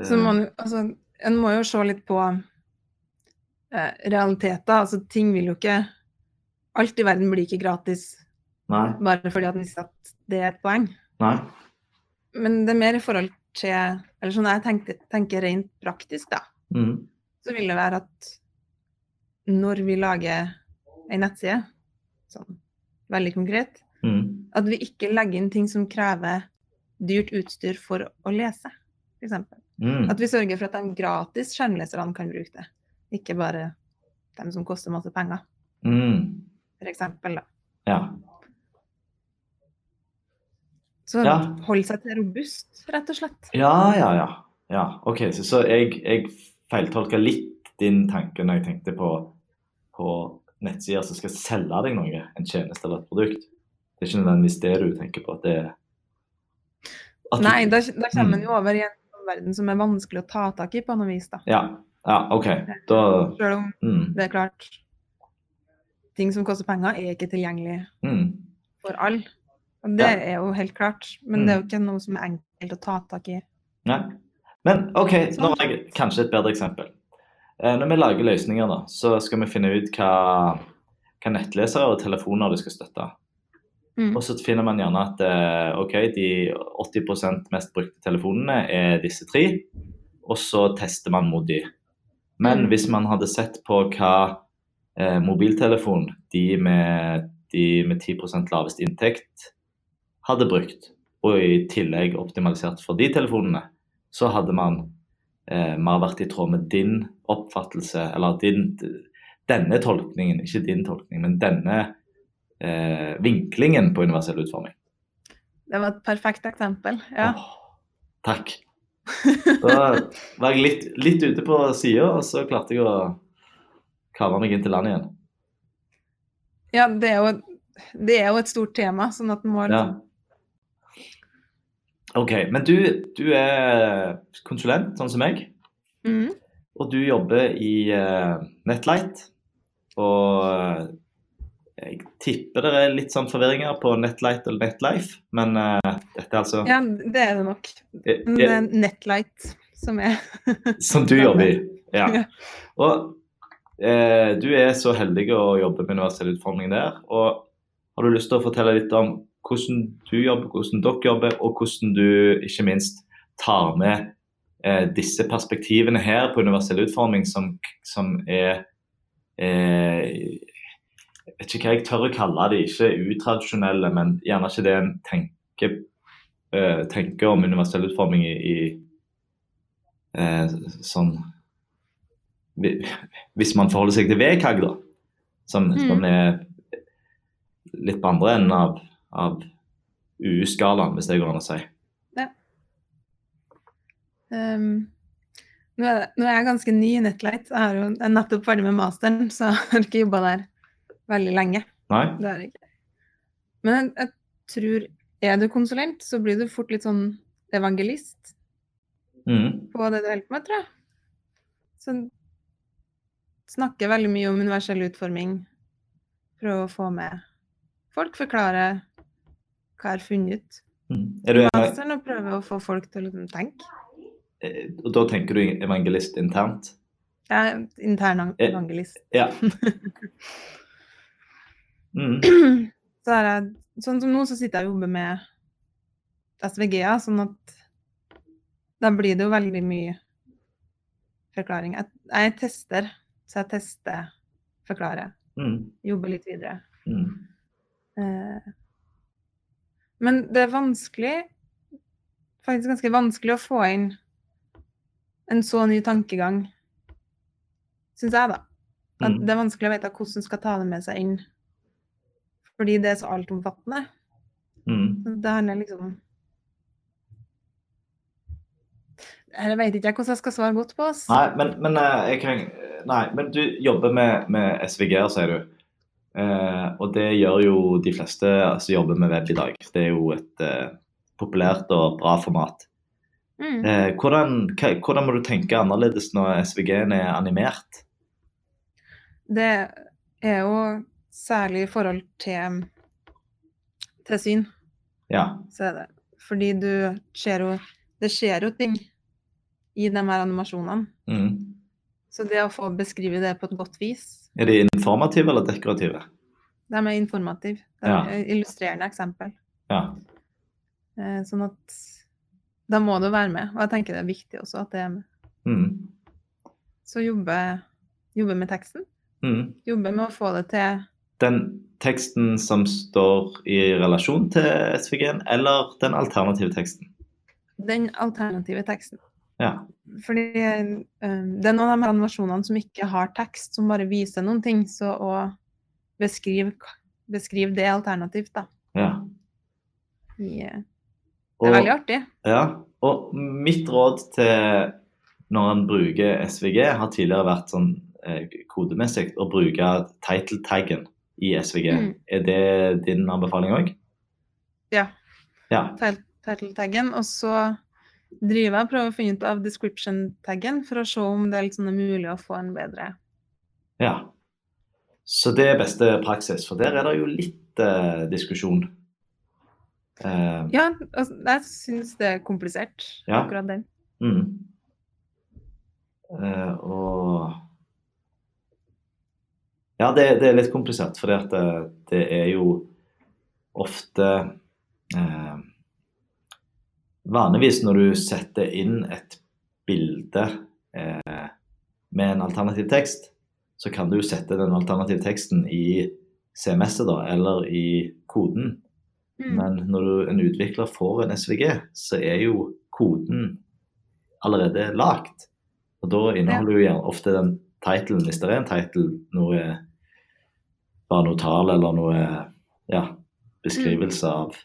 S3: Så man, altså, en må jo se litt på eh, realiteter. Altså, ting vil jo ikke Alt i verden blir ikke gratis
S1: Eh, Nei.
S3: bare fordi at man sier at det er et poeng.
S1: nei.
S3: Men det er mer i forhold til Eller sånn jeg tenker, tenker rent praktisk, da.
S1: Mm.
S3: så vil det være at når vi lager ei nettside, sånn veldig konkret,
S1: Mm.
S3: at vi ikke legger inn ting som krever dyrt utstyr for å lese, f.eks.
S1: Mm.
S3: At vi sørger for at de gratis skjermleserne kan bruke det, ikke bare dem som koster masse penger,
S1: Mm.
S3: f.eks. da.
S1: Ja.
S3: Så
S1: Ja.
S3: hold seg til robust, rett og slett.
S1: ja, ja, ja. ja. OK, så, så jeg, jeg feiltolka litt din tanke når jeg tenkte på, på nettsider som skal selge deg noe, en tjeneste eller et produkt. Det er ikke nødvendigvis det du tenker på. at det er- at du-
S3: Nei, da, da
S1: Mm.
S3: kommer man jo over i en verden som er vanskelig å ta tak i på noe vis, da.
S1: Ja, ja OK. Da
S3: Selv om
S1: mm.
S3: Det er klart. Ting som koster penger, er ikke tilgjengelig
S1: Mm.
S3: for alle. Og det
S1: Ja.
S3: er jo helt klart. Men
S1: Mm.
S3: det er jo ikke noe som er enkelt å ta tak i.
S1: Nei. Men OK, nå
S3: Sånn.
S1: har jeg kanskje et bedre eksempel. Eh, Når vi lager løsninger, da, så skal vi finne ut hva, hva nettlesere og telefoner de skal støtte.
S3: Mm.
S1: Og så finner man gjerne at eh, OK, de 80 mest brukte telefonene er disse tre, og så tester man mot de. Men
S3: Mm.
S1: hvis man hadde sett på hva eh, mobiltelefon de med, de med 10 lavest inntekt hadde brukt, og i tillegg optimalisert for de telefonene, så hadde man eh, mer vært i tråd med din oppfattelse, eller din, denne tolkningen, ikke din tolkning, men denne eh, vinklingen på universell utforming.
S3: Det var et perfekt eksempel. Ja.
S1: Åh, takk. Da var jeg litt, litt ute på sida, og så klarte jeg å kave meg inn til land igjen.
S3: ja, det er jo det er jo et stort tema, sånn at man må
S1: Ja.
S3: liksom
S1: OK. Men du, du er konsulent, sånn som meg.
S3: mm.
S1: Og du jobber i eh, Netlight. Og eh, jeg tipper det er litt sånn forvirringer på Netlight og Netlife, men eh, dette er altså
S3: Ja, det er det nok.
S1: eh,
S3: Men det
S1: eh,
S3: er Netlight som er
S1: Som du jobber i. Ja.
S3: Ja.
S1: Og eh, du er så heldig å jobbe med universell utforming der. Og har du lyst til å fortelle litt om hvordan du jobber, hvordan dere jobber, og hvordan du ikke minst tar med eh, disse perspektivene her på universell utforming som, som er eh, Jeg vet ikke hva jeg tør å kalle det, ikke utradisjonelle, men gjerne ikke det en tenker, eh, tenker om universell utforming i, i eh, sånn vi- Hvis man forholder seg til VKG, da, som, som er litt på andre enden av, av UU-skalaen, hvis det går an å si.
S3: Ehm, nå, er det, nå er jeg ganske ny i Netlight. Jeg, har jo, jeg er nettopp ferdig med masteren, så jeg har ikke jobba der veldig lenge.
S1: Nei?
S3: Det er det ikke. Men jeg, jeg tror Er du konsulent, så blir du fort litt sånn evangelist
S1: Mhm.
S3: på det du holder på med, tror jeg. Så snakker veldig mye om universell utforming. Prøve å få med folk. Forklare hva jeg har funnet
S1: Mhm. Er du,
S3: ut. Masteren og prøve å få folk til å liksom tenke.
S1: eh, og da tenker du evangelist internt?
S3: Jeg er intern ang-
S1: Eh,
S3: evangelist.
S1: Ja. Mhm.
S3: så er jeg, sånn som nå, så sitter jeg og jobber med SVG-er, sånn at da blir det jo veldig mye forklaring. Jeg, jeg tester, så jeg tester, forklarer,
S1: Mhm.
S3: jobber litt videre.
S1: Mhm.
S3: Eh, men det er vanskelig, faktisk ganske vanskelig å få inn en så ny tankegang, syns jeg, da. At
S1: Mhm.
S3: det er vanskelig å vite hvordan skal ta det med seg inn Fordi det er så altomfattende.
S1: Mm.
S3: Så Det handler liksom Jeg veit ikke jeg hvordan jeg skal svare godt på. ass.
S1: Nei, men, men eh, jeg kan Nei, men du jobber med, med SVG-er, sier du. Eh, og det gjør jo de fleste som jobber med web i dag. Det er jo et eh, populært og bra format.
S3: Mm.
S1: Eh, hvordan, hva, hvordan må du tenke annerledes når SVG-en er animert?
S3: Det er jo særlig i forhold til, til syn,
S1: Ja.
S3: så er det. Fordi du ser jo Det skjer jo ting i de her animasjonene.
S1: Mm.
S3: Så det å få beskrive det på et godt vis,
S1: Er de informative eller dekorative?
S3: de er informative. De
S1: Ja.
S3: er illustrerende eksempel.
S1: Ja.
S3: Eh, Sånn at da må du være med. Og jeg tenker det er viktig også at det er med.
S1: Mm.
S3: Så jobbe, jobbe med teksten.
S1: Mm.
S3: Jobbe med å få det til
S1: den teksten som står i relasjon til SVG-en, eller den alternative teksten.
S3: den alternative teksten.
S1: Ja.
S3: Fordi eh, det er noen av de her animasjonene som ikke har tekst, som bare viser noen ting. Så å beskrive, beskrive det alternativt, da.
S1: ja.
S3: I, eh,
S1: Og,
S3: det er veldig artig.
S1: ja. Og mitt råd til når en bruker SVG, har tidligere vært sånn eh, kodemessig å bruke title-taggen i SVG.
S3: Mm.
S1: Er det din anbefaling òg?
S3: Ja.
S1: Ja.
S3: Tit- Title-taggen. Og så driver jeg og prøver å finne ut av description-taggen for å se om det er litt sånn mulig å få en bedre
S1: ja. Så det er beste praksis, for der er det jo litt eh, diskusjon. Eh,
S3: Ja, altså, jeg syns det er komplisert,
S1: Ja.
S3: akkurat den.
S1: Mm. Eh, og Ja, det, det er litt komplisert, for det, det er jo ofte eh, Vanligvis når du setter inn et bilde eh, med en alternativ tekst, så kan du jo sette den alternative teksten i CMS-et, da, eller i koden.
S3: Mm.
S1: Men når du, en utvikler får en SVG, så er jo koden allerede lagt. Og da inneholder jo gjerne ofte den titlen, hvis det er en title, noe bare noe tall eller noe ja, beskrivelse av eh,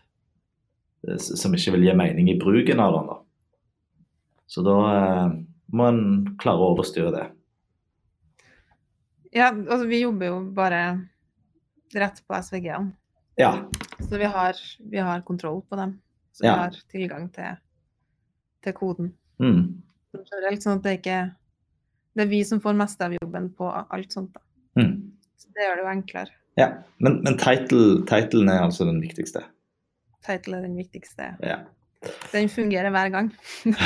S1: s- Som ikke vil gi mening i bruken av den. da. Så da eh, må en klare å overstyre det.
S3: Ja, altså vi jobber jo bare rett på SVG-ene.
S1: Ja.
S3: Så vi har, vi har kontroll på dem. Så
S1: Ja.
S3: vi har tilgang til, til koden.
S1: Mm.
S3: Så Generelt, sånn at det ikke Det er vi som får mest av jobben på alt sånt. Da.
S1: Mm.
S3: Så det gjør det jo enklere.
S1: ja. Men, men title, titlen er altså den viktigste.
S3: Title er den viktigste.
S1: Ja.
S3: Den fungerer hver gang.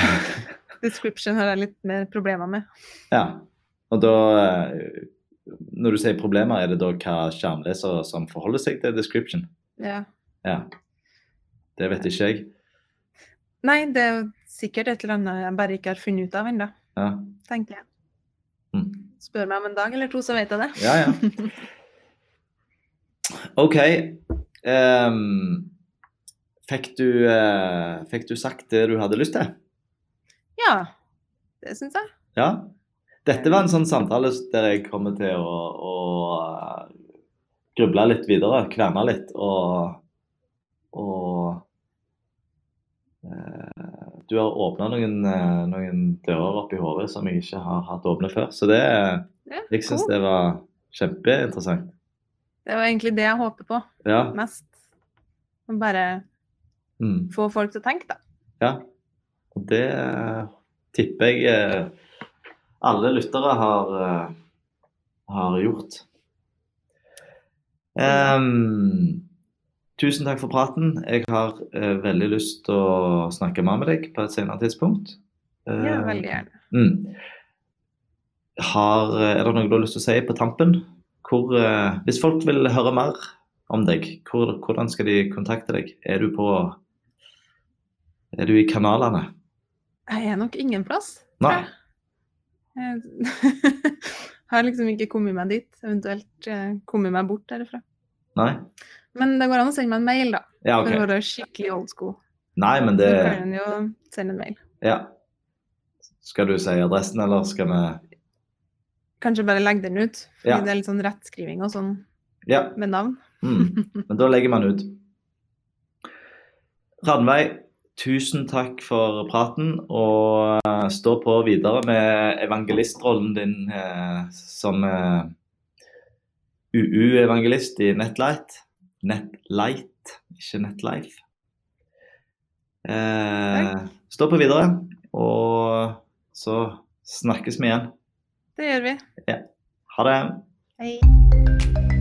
S3: Description har jeg litt mer problemer med.
S1: Ja, og da eh, Når du sier problemer, er det da hva skjermlesere som forholder seg til description?
S3: Ja.
S1: Ja. Det vet ikke jeg.
S3: Nei, det er jo sikkert et eller annet jeg bare ikke har funnet ut av ennå,
S1: Ja,
S3: tenker jeg.
S1: Mm.
S3: Spør meg om en dag eller to, så vet jeg det.
S1: ja. ja. OK. ehm, fikk, du, eh, fikk du sagt det du hadde lyst til?
S3: Ja. Det syns jeg.
S1: Ja. Dette var en sånn samtale der jeg kommer til å, å eh, gruble litt videre, kverne litt og, og eh, Du har åpna noen, eh, noen dører oppi hodet som jeg ikke har hatt åpne før. Så det,
S3: Ja,
S1: jeg syns
S3: cool.
S1: det var kjempeinteressant.
S3: Det er jo egentlig det jeg håper på
S1: Ja.
S3: mest. Å bare
S1: Mm.
S3: få folk til å tenke, da.
S1: Ja, og det eh, tipper jeg eh, alle lyttere har, eh, har gjort. Ehm, tusen takk for praten. Jeg har eh, veldig lyst til å snakke mer med deg på et senere tidspunkt.
S3: Ja,
S1: Eh,
S3: veldig gjerne.
S1: Mm. Har, eh, er det noe du har lyst til å si på tampen? Hvor, eh, hvis folk vil høre mer om deg, hvor, hvordan skal de kontakte deg? Er du på Er du i kanalene?
S3: Jeg er nok ingen plass. tror
S1: Nei.
S3: jeg. Jeg har liksom ikke kommet meg dit, eventuelt eh, kommet meg bort derifra.
S1: Nei?
S3: Men det går an å sende meg en mail, da.
S1: Ja,
S3: For å
S1: OK.
S3: være skikkelig old school.
S1: Nei, men
S3: Så
S1: det
S3: kan en jo sende en mail.
S1: Ja. Skal du si adressen, eller skal vi
S3: Kanskje bare legge den ut, fordi
S1: Ja.
S3: det er litt sånn rettskriving og sånn
S1: Ja.
S3: med navn.
S4: Mm. Men da legger man ut. Ranveig, tusen takk for praten, og eh, stå på videre med evangelistrollen din eh, som eh, UU-evangelist i Netlight. Netlight, ikke Netlife. Eh,
S3: Takk.
S4: stå på videre, og så snakkes vi igjen.
S3: Det gjør vi.
S4: Ha det.
S3: Hei.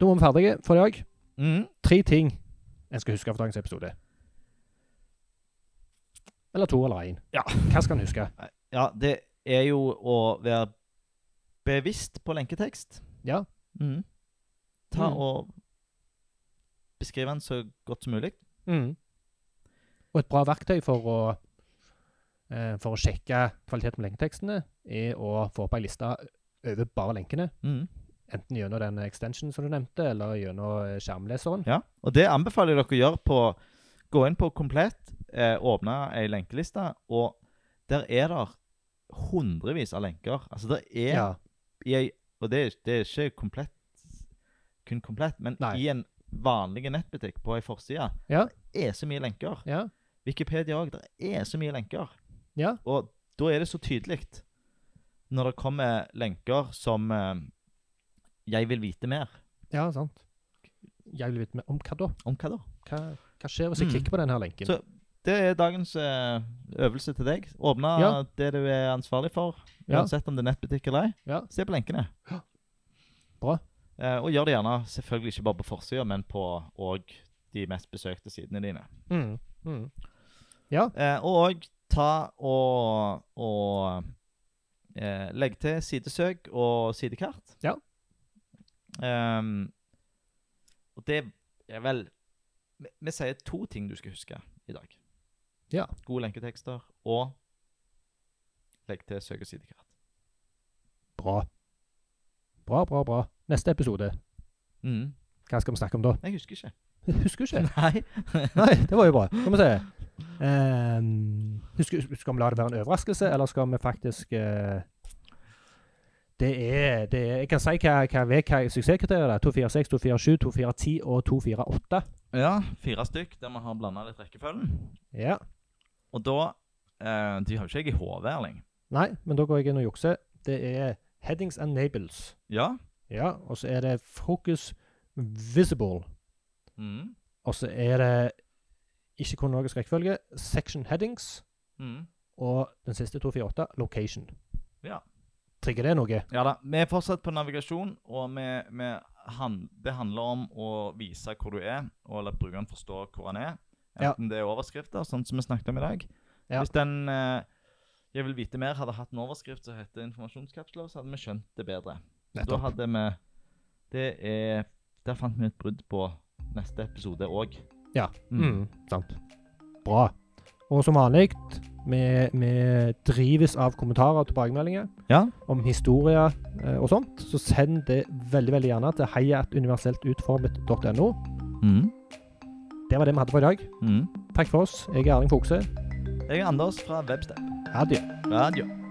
S2: Da var vi ferdige for i dag.
S1: Mm.
S2: Tre ting en skal huske fra dagens episode. Eller to eller én.
S1: Ja.
S2: Hva skal en huske?
S1: Ja, det er jo å være bevisst på lenketekst.
S2: Ja.
S1: Mm. Ta
S2: Mm.
S1: og beskrive den så godt som mulig.
S2: Mm. Og et bra verktøy for å, eh, for å sjekke kvaliteten på lenketekstene er å få opp ei liste over bare lenkene.
S1: Mm.
S2: Enten gjennom den extension som du nevnte, eller gjennom eh, skjermleseren.
S1: Ja, og det anbefaler jeg dere å gjøre på Gå inn på Komplett, eh, åpne ei lenkeliste, og der er det hundrevis av lenker. Altså, det er
S2: Ja.
S1: i ei Og det, er- det er ikke komplett, kun komplett, men
S2: Nei.
S1: i en vanlig nettbutikk på ei forside
S2: Ja.
S1: det er så mye lenker.
S2: ja.
S1: Wikipedia òg. Det er så mye lenker.
S2: Ja.
S1: Og da er det så tydelig når det kommer lenker som eh, Jeg vil vite mer.
S2: Ja, sant. Jeg vil vite mer om hva da?
S1: Om hva da?
S2: Hva, hva skjer hvis jeg
S1: Mm.
S2: klikker på denne lenken?
S1: Så- Det er dagens eh, øvelse til deg. Åpne
S2: Ja.
S1: det du er ansvarlig for,
S2: Ja.
S1: uansett om det er nettbutikk eller ei.
S2: Ja.
S1: Se på lenkene.
S2: Ja. Bra.
S1: Eh, og gjør det gjerne selvfølgelig ikke bare på forsida, men på òg de mest besøkte sidene dine.
S2: Mm. Mm.
S1: Eh, og òg ta og, og eh, legg til sidesøk og sidekart.
S2: Ja.
S1: Ehm, og det er vel vi, vi sier to ting du skal huske i dag.
S2: Ja.
S1: Gode lenketekster og legg til søk og sidekart.
S2: Bra. Bra, bra, bra. Neste episode.
S1: Mm.
S2: Hva skal vi snakke om da?
S1: Jeg husker ikke.
S2: Husker ikke.
S1: Nei.
S2: Nei, det var jo bra. Skal vi se. Ehm, husker, skal vi la det være en overraskelse, eller skal vi faktisk eh, det er, det er Jeg kan si hva, hva, hva, hva suksesskriteriet er. 246, 247, 241 og 248.
S1: Ja, fire stykk der vi har blanda litt rekkefølgen.
S2: Ja.
S1: Og da eh, De har jo ikke jeg i hodet, Erling.
S2: Nei, men da går jeg inn og jukser. Det er headings and labels.
S1: Ja.
S2: Ja, og så er det Focus Visible.
S1: Mm.
S2: Og så er det ikke kronologisk rekkefølge, Section Headings,
S1: Mm.
S2: og den siste 248, Location.
S1: Ja.
S2: Trigger det noe?
S1: Ja da, vi er fortsatt på navigasjon, og vi, vi han, det handler om å vise hvor du er, og la brukeren forstå hvor han er.
S2: Ja.
S1: Enten det er overskrifter, sånn som vi snakket om i dag.
S2: Ja.
S1: Hvis den eh, jeg vil vite mer, hadde hatt en overskrift som heter informasjonskapsler, så hadde vi skjønt det bedre. Da
S2: Nettopp.
S1: hadde vi Det er Der fant vi et brudd på neste episode òg.
S2: Ja.
S1: Mm.
S2: Mm, sant. Bra. Og som vanlig, vi, vi drives av kommentarer og tilbakemeldinger
S1: Ja.
S2: om historier eh, og sånt, så send det veldig veldig gjerne til heiaatuniverseltutformet.no.
S1: Mm.
S2: Det var det vi hadde for i dag.
S1: Mm.
S2: Takk for oss. Jeg er Erling Fokse.
S1: Jeg er Anders fra Webstep.
S2: Adjø.
S1: Radio.